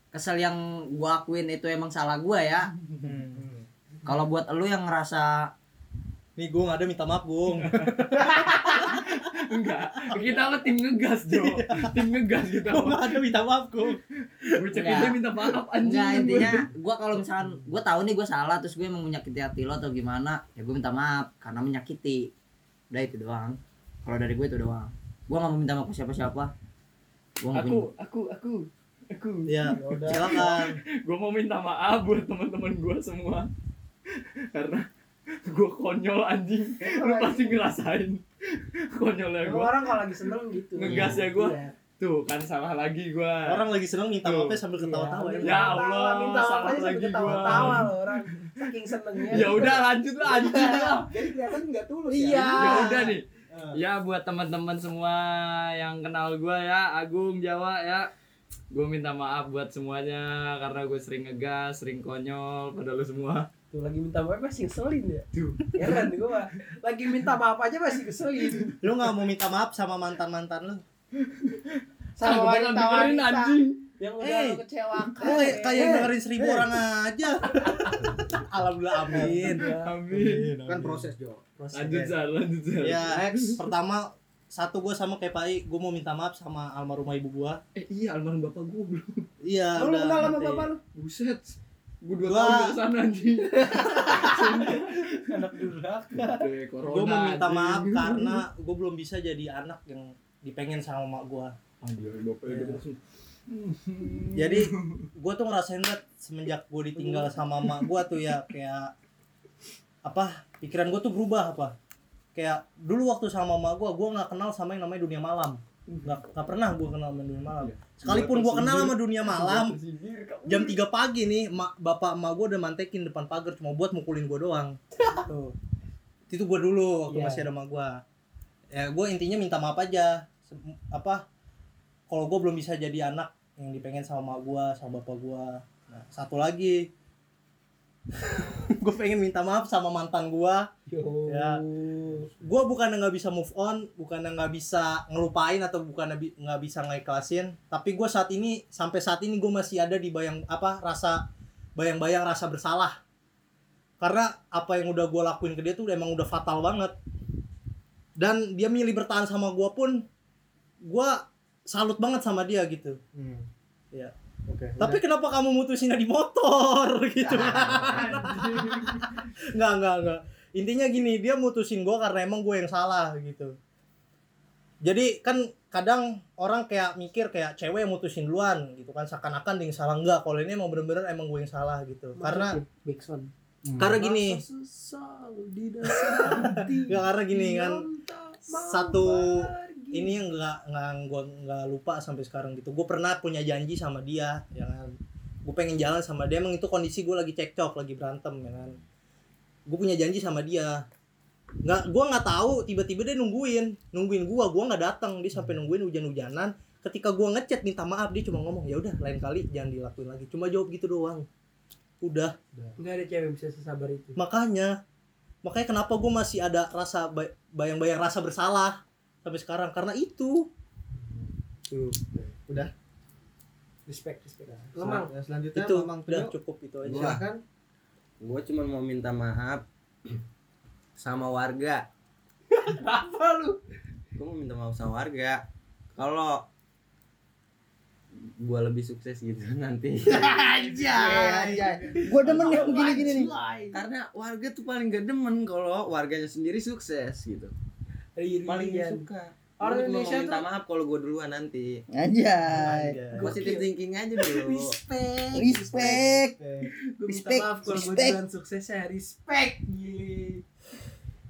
[SPEAKER 3] kesel yang gua akuin itu emang salah gua ya kalau buat elu yang ngerasa
[SPEAKER 4] Nih Gung ada minta maaf Gung
[SPEAKER 5] Enggak. Kita mah tim ngegas, Jo. Tim ngegas kita.
[SPEAKER 4] Gung ada minta maaf Gung
[SPEAKER 5] Bocah kita minta maaf anjing.
[SPEAKER 3] enggak intinya gua kalau misalkan gua tahu nih gua salah terus gue emang menyakiti hati lo atau gimana ya gua minta maaf karena menyakiti udah itu doang kalau dari gue itu doang gua nggak mau minta maaf ke siapa-siapa gua nggak
[SPEAKER 5] Aku, aku, aku, aku.
[SPEAKER 4] Ya silakan
[SPEAKER 5] Gue mau minta maaf buat teman-teman gue semua. Karena gue konyol anjing. Lu pasti ngerasain konyolnya gue.
[SPEAKER 1] orang kalau lagi seneng gitu
[SPEAKER 5] Iya. Ngegas ya gua. Tuh kan salah lagi gue.
[SPEAKER 4] Orang lagi seneng minta maafnya sambil ketawa-tawa ya.
[SPEAKER 5] Ya Allah,
[SPEAKER 1] Iya. minta
[SPEAKER 5] salah
[SPEAKER 1] maaf aja sampai
[SPEAKER 5] lagi
[SPEAKER 1] ketawa-tawa lo orang saking senengnya
[SPEAKER 5] Ya udah lanjut lah anjing.
[SPEAKER 9] Jadi kelihatan nggak tulus ya.
[SPEAKER 1] iya
[SPEAKER 5] ya udah nih ya buat teman-teman semua yang kenal gue ya Agung Jawa ya gue minta maaf buat semuanya karena gue sering ngegas sering konyol pada lu semua
[SPEAKER 1] tuh lagi minta maaf masih keselin ya
[SPEAKER 5] Tuh.
[SPEAKER 1] ya kan gua lagi minta maaf aja masih keselin
[SPEAKER 4] Lu gak mau minta maaf sama mantan-mantan lu
[SPEAKER 1] sama
[SPEAKER 5] Kagak bakal dengerin,
[SPEAKER 1] wanita-wanita
[SPEAKER 5] anjing
[SPEAKER 1] yang udah
[SPEAKER 4] Eh.
[SPEAKER 1] lo kecewakan
[SPEAKER 4] Oh kayak kayak yang
[SPEAKER 1] Eh.
[SPEAKER 4] dengerin seribu orang aja Alhamdulillah amin
[SPEAKER 1] Ya,
[SPEAKER 5] amin
[SPEAKER 2] kan proses Jo
[SPEAKER 5] lanjut Sar lanjut Sar
[SPEAKER 4] Ya X pertama satu gue sama kayak Pak I, gue mau minta maaf sama almarhumah ibu gue.
[SPEAKER 5] eh iya almarhum bapak gue belum
[SPEAKER 4] Iya.
[SPEAKER 1] Lu
[SPEAKER 4] udah
[SPEAKER 1] kenal sama
[SPEAKER 4] ngerti.
[SPEAKER 1] bapak lu?
[SPEAKER 5] buset gue dua
[SPEAKER 4] Gua-
[SPEAKER 5] tahun dari sana anjing
[SPEAKER 1] Anak durhaka.
[SPEAKER 5] Udah, corona
[SPEAKER 4] Gue mau minta
[SPEAKER 5] anjing.
[SPEAKER 4] maaf karena gue belum bisa jadi anak yang dipengen sama mak gue.
[SPEAKER 5] Anjir, bapak udah langsung.
[SPEAKER 4] Jadi gue tuh ngerasain banget semenjak gue ditinggal sama mak gue tuh ya kayak apa pikiran gue tuh berubah apa kayak dulu waktu sama mak gue gue nggak kenal sama yang namanya dunia malam nggak nggak pernah gue kenal sama dunia malam sekalipun gue kenal sama dunia malam
[SPEAKER 5] Sindir, kamu.
[SPEAKER 4] jam 3 pagi nih ma- bapak emak gue udah mantekin depan pagar cuma buat mukulin gue doang Tuh. itu gue dulu waktu
[SPEAKER 1] Iya.
[SPEAKER 4] masih ada emak gue ya gue intinya minta maaf aja Se- apa kalau gue belum bisa jadi anak yang dipengen sama emak gue sama bapak gue nah, satu lagi gue pengen minta maaf sama mantan gue
[SPEAKER 1] Yo.
[SPEAKER 4] Ya. gue bukan nggak bisa move on bukan nggak bisa ngelupain atau bukan nggak bisa ngeikhlasin tapi gue saat ini sampai saat ini gue masih ada di bayang apa rasa bayang-bayang rasa bersalah karena apa yang udah gue lakuin ke dia tuh emang udah fatal banget dan dia milih bertahan sama gue pun gue salut banget sama dia gitu Iya.
[SPEAKER 2] Oke.
[SPEAKER 4] tapi kenapa kamu mutusinnya di motor gitu nggak nggak nggak intinya gini dia mutusin gue karena emang gue yang salah gitu jadi kan kadang orang kayak mikir kayak cewek yang mutusin duluan gitu kan seakan-akan dia yang salah enggak kalau ini emang bener-bener emang gue yang salah gitu karena
[SPEAKER 1] Backson.
[SPEAKER 4] karena gini
[SPEAKER 1] Rasa sesal di dasar hati.
[SPEAKER 4] nggak karena gini kan
[SPEAKER 1] yang tak mau
[SPEAKER 4] satu-
[SPEAKER 1] pergi.
[SPEAKER 4] ini yang nggak nggak gue nggak lupa sampai sekarang gitu gue pernah punya janji sama dia ya kan gue pengen jalan sama dia emang itu kondisi gue lagi cekcok lagi berantem ya kan gue punya janji sama dia nggak gue nggak tahu tiba-tiba dia nungguin nungguin gue gue nggak datang dia sampai nungguin hujan-hujanan ketika gue ngechat minta maaf dia cuma ngomong ya udah lain kali jangan dilakuin lagi cuma jawab gitu doang udah
[SPEAKER 1] nggak ada cewek yang bisa sesabar itu.
[SPEAKER 4] makanya makanya kenapa gue masih ada rasa bay- bayang-bayang rasa bersalah sampai sekarang karena itu
[SPEAKER 1] Respect, respect.
[SPEAKER 2] Sel-
[SPEAKER 1] Lemang.
[SPEAKER 2] ya, selanjutnya
[SPEAKER 4] itu
[SPEAKER 2] Mamang
[SPEAKER 4] udah
[SPEAKER 2] Tio.
[SPEAKER 4] cukup itu aja
[SPEAKER 2] silakan
[SPEAKER 7] gue cuma mau minta maaf sama warga
[SPEAKER 1] Apa lu?
[SPEAKER 7] gue mau minta maaf sama warga kalau gue lebih sukses gitu nanti
[SPEAKER 4] gue demen yang gini-gini nih
[SPEAKER 7] karena warga tuh paling gak demen kalau warganya sendiri sukses gitu paling
[SPEAKER 1] Iri-irian.
[SPEAKER 7] suka
[SPEAKER 1] Iya, Orang
[SPEAKER 7] Orang
[SPEAKER 1] Indonesia
[SPEAKER 7] minta
[SPEAKER 1] tuh
[SPEAKER 7] maaf kalau gue duluan nanti.
[SPEAKER 3] Anjay.
[SPEAKER 7] Positive thinking aja dulu.
[SPEAKER 1] respect.
[SPEAKER 3] Respect.
[SPEAKER 1] Gua minta
[SPEAKER 3] Respect.
[SPEAKER 1] maaf kalau gue
[SPEAKER 3] Respect.
[SPEAKER 1] jalan suksesnya ya, respect. Gile.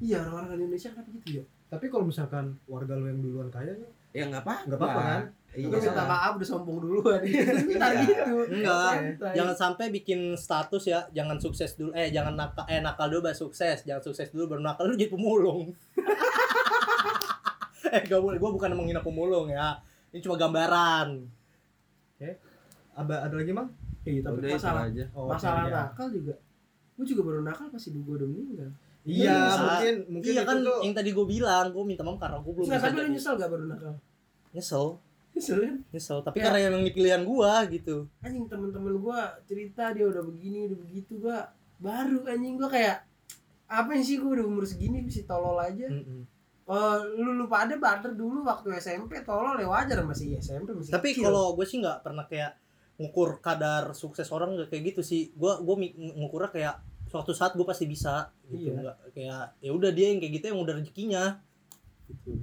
[SPEAKER 1] Iya orang-orang Indonesia kenapa gitu ya?
[SPEAKER 2] Tapi kalau misalkan warga lu yang duluan kaya nih,
[SPEAKER 7] ya nggak apa-apa.
[SPEAKER 2] Nggak apa-apa kan?
[SPEAKER 7] Iya.
[SPEAKER 1] Gue minta maaf udah sombong duluan. Ntar
[SPEAKER 7] Iya.
[SPEAKER 1] gitu.
[SPEAKER 4] Enggak.
[SPEAKER 1] Santai.
[SPEAKER 4] jangan sampai bikin status ya jangan sukses dulu eh jangan nakal eh nakal dulu baru sukses jangan sukses dulu baru nakal lu jadi pemulung eh gak boleh gue bukan menghina pemulung ya ini cuma gambaran
[SPEAKER 2] ada ada lagi mang?
[SPEAKER 1] Kayak gitu.
[SPEAKER 7] Udah itu
[SPEAKER 1] masalah
[SPEAKER 7] aja.
[SPEAKER 2] Oh,
[SPEAKER 1] masalah
[SPEAKER 2] iya.
[SPEAKER 1] nakal juga. Gue juga baru nakal pas ibu gue udah meninggal.
[SPEAKER 2] Iya,
[SPEAKER 4] Iya,
[SPEAKER 2] mungkin mungkin
[SPEAKER 4] iya
[SPEAKER 2] itu
[SPEAKER 4] kan
[SPEAKER 2] tuh-
[SPEAKER 4] yang tadi gue bilang gue minta maaf karena gue belum
[SPEAKER 1] Nggak
[SPEAKER 4] bisa
[SPEAKER 1] sampai lu
[SPEAKER 4] jadi-
[SPEAKER 1] nyesel gak baru nakal?
[SPEAKER 4] nyesel
[SPEAKER 1] Nyesel kan?
[SPEAKER 4] nyesel tapi
[SPEAKER 1] Ya.
[SPEAKER 4] karena yang ini pilihan gue gitu
[SPEAKER 1] Anjing temen-temen gue cerita dia udah begini udah begitu gue baru anjing gue kayak apa sih gue udah umur segini masih tolol aja. Oh, lu lupa ada barter dulu waktu SMP tolol ya wajar masih SMP masih
[SPEAKER 4] tapi
[SPEAKER 1] kecil.
[SPEAKER 4] kalau gue sih nggak pernah kayak ngukur kadar sukses orang nggak kayak gitu sih gue gue ngukurnya kayak suatu saat gue pasti bisa gitu
[SPEAKER 1] Iya.
[SPEAKER 4] nggak kayak ya udah dia yang kayak gitu yang udah rezekinya gitu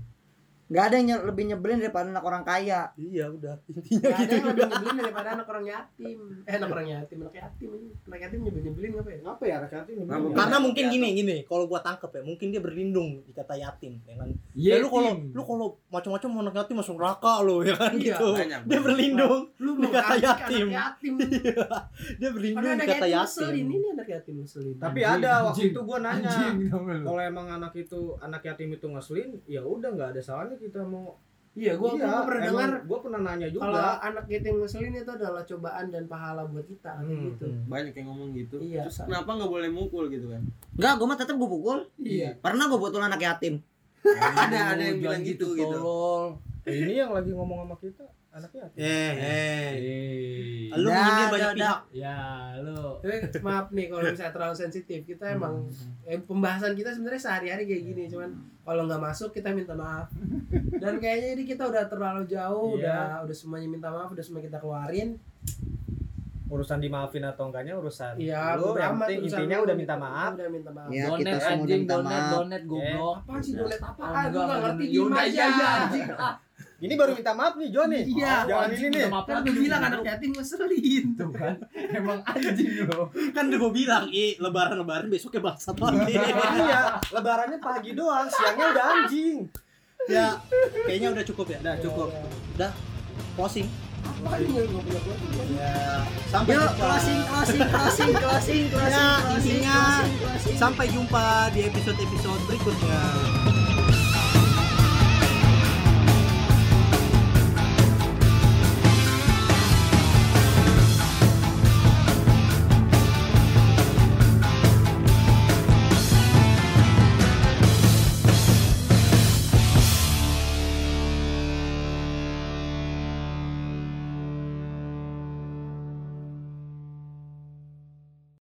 [SPEAKER 3] Gak ada yang nye- lebih nyebelin daripada anak orang kaya.
[SPEAKER 4] iya udah intinya
[SPEAKER 1] Gak ada
[SPEAKER 4] gitu
[SPEAKER 1] yang
[SPEAKER 4] juga
[SPEAKER 1] lebih nyebelin daripada anak orang yatim Eh anak orang yatim, anak yatim anjing. Anak yatim nyebelin-nyebelin apa ya?
[SPEAKER 2] Apa ya rakyat ini?
[SPEAKER 7] Nah, bukan.
[SPEAKER 4] karena
[SPEAKER 1] Iya,
[SPEAKER 4] mungkin gini gini kalau gue tangkep ya mungkin dia berlindung dikata yatim ya kan ya
[SPEAKER 5] Iya
[SPEAKER 4] lu kalau lu kalau macam-macam mau anak yatim masuk neraka lo ya kan
[SPEAKER 1] Iya,
[SPEAKER 4] gitu
[SPEAKER 7] banyak.
[SPEAKER 4] dia berlindung
[SPEAKER 1] Lu
[SPEAKER 4] Dikata
[SPEAKER 1] mengangkat
[SPEAKER 4] yatim.
[SPEAKER 1] anak yatim
[SPEAKER 4] Iya. dia
[SPEAKER 1] Padahal
[SPEAKER 4] berlindung
[SPEAKER 1] anak
[SPEAKER 4] dikata
[SPEAKER 1] yatim
[SPEAKER 4] yatim
[SPEAKER 1] ngeselin, ini anak yatim ngeselin
[SPEAKER 2] Tapi
[SPEAKER 5] Anjing,
[SPEAKER 2] ada waktu
[SPEAKER 5] anjing.
[SPEAKER 2] itu gua nanya.
[SPEAKER 5] anjing dong lu.
[SPEAKER 2] Kalau emang anak itu anak yatim itu ngeselin, ya udah nggak ada salahnya kita mau.
[SPEAKER 1] Iya, gua,
[SPEAKER 2] Iya,
[SPEAKER 1] gua pernah
[SPEAKER 2] emang
[SPEAKER 1] dengar
[SPEAKER 2] Gua pernah nanya
[SPEAKER 1] kalau
[SPEAKER 2] juga.
[SPEAKER 1] anak yatim ngeselin itu adalah cobaan dan pahala buat kita kayak
[SPEAKER 2] Hmm.
[SPEAKER 1] gitu.
[SPEAKER 7] Banyak yang ngomong gitu.
[SPEAKER 1] Iya.
[SPEAKER 7] Terus kenapa nggak boleh mukul gitu kan?
[SPEAKER 8] Enggak, gue mah tetap gue pukul.
[SPEAKER 1] Iya.
[SPEAKER 8] Pernah gue pukul anak yatim.
[SPEAKER 7] ada ada yang bilang gitu gitu.
[SPEAKER 2] Eh, Ini yang lagi ngomong sama kita anak yatim.
[SPEAKER 4] eh eh
[SPEAKER 5] Eh.
[SPEAKER 4] lu
[SPEAKER 8] Dah,
[SPEAKER 4] menyindir
[SPEAKER 8] dah,
[SPEAKER 4] banyak
[SPEAKER 8] dah.
[SPEAKER 4] pihak
[SPEAKER 1] Iya,
[SPEAKER 5] Ya lu.
[SPEAKER 1] Tapi maaf nih kalau misalnya terlalu sensitif, kita emang
[SPEAKER 2] Hmm.
[SPEAKER 1] eh, pembahasan kita sebenarnya sehari-hari kayak gini, cuman kalau nggak masuk kita minta maaf. Dan kayaknya ini kita udah terlalu jauh,
[SPEAKER 2] Iya.
[SPEAKER 1] udah udah semuanya minta maaf, udah semua kita keluarin.
[SPEAKER 2] Urusan dimaafin atau enggaknya urusan.
[SPEAKER 1] Iya,
[SPEAKER 2] lu
[SPEAKER 1] bodo
[SPEAKER 2] yang
[SPEAKER 1] amat
[SPEAKER 2] penting
[SPEAKER 1] urusan
[SPEAKER 2] intinya
[SPEAKER 1] lu,
[SPEAKER 2] udah minta maaf.
[SPEAKER 1] Udah minta maaf.
[SPEAKER 8] Iya.
[SPEAKER 3] Ya,
[SPEAKER 5] donet
[SPEAKER 3] kita semua
[SPEAKER 5] anjing,
[SPEAKER 3] minta
[SPEAKER 5] donet,
[SPEAKER 3] maaf.
[SPEAKER 5] donet goblok.
[SPEAKER 1] Apaan
[SPEAKER 2] Iya.
[SPEAKER 1] sih dolet apa?
[SPEAKER 5] Oh,
[SPEAKER 1] Ah, gue
[SPEAKER 5] enggak,
[SPEAKER 1] nggak ngerti
[SPEAKER 5] enggak.
[SPEAKER 1] gimana
[SPEAKER 5] Yaudah,
[SPEAKER 1] ya.
[SPEAKER 5] iya,
[SPEAKER 1] anjing. Ah,
[SPEAKER 2] Ini baru minta maaf nih John nih.
[SPEAKER 1] Iya,
[SPEAKER 2] Jangan
[SPEAKER 5] anjing,
[SPEAKER 2] ini nih.
[SPEAKER 5] minta maaf
[SPEAKER 1] Kan gue
[SPEAKER 5] lagi.
[SPEAKER 1] bilang anak yatim ngeselin.
[SPEAKER 5] Tuh kan. Emang anjing lu.
[SPEAKER 4] kan udah gue bilang i lebaran lebaran besoknya ya bangsat lagi
[SPEAKER 2] Iya, lebarannya pagi doang, siangnya udah anjing.
[SPEAKER 4] ya kayaknya udah cukup ya udah
[SPEAKER 2] cukup.
[SPEAKER 4] udah closing
[SPEAKER 1] Apaan ini yang gue punya gua tuh?
[SPEAKER 4] sampai
[SPEAKER 8] Yuk,
[SPEAKER 4] jumpa.
[SPEAKER 8] closing, closing, closing,
[SPEAKER 1] Iya,
[SPEAKER 8] closing, closing,
[SPEAKER 4] Ya,
[SPEAKER 8] closing,
[SPEAKER 4] intinya
[SPEAKER 8] closing, closing.
[SPEAKER 4] sampai jumpa di episode episode berikutnya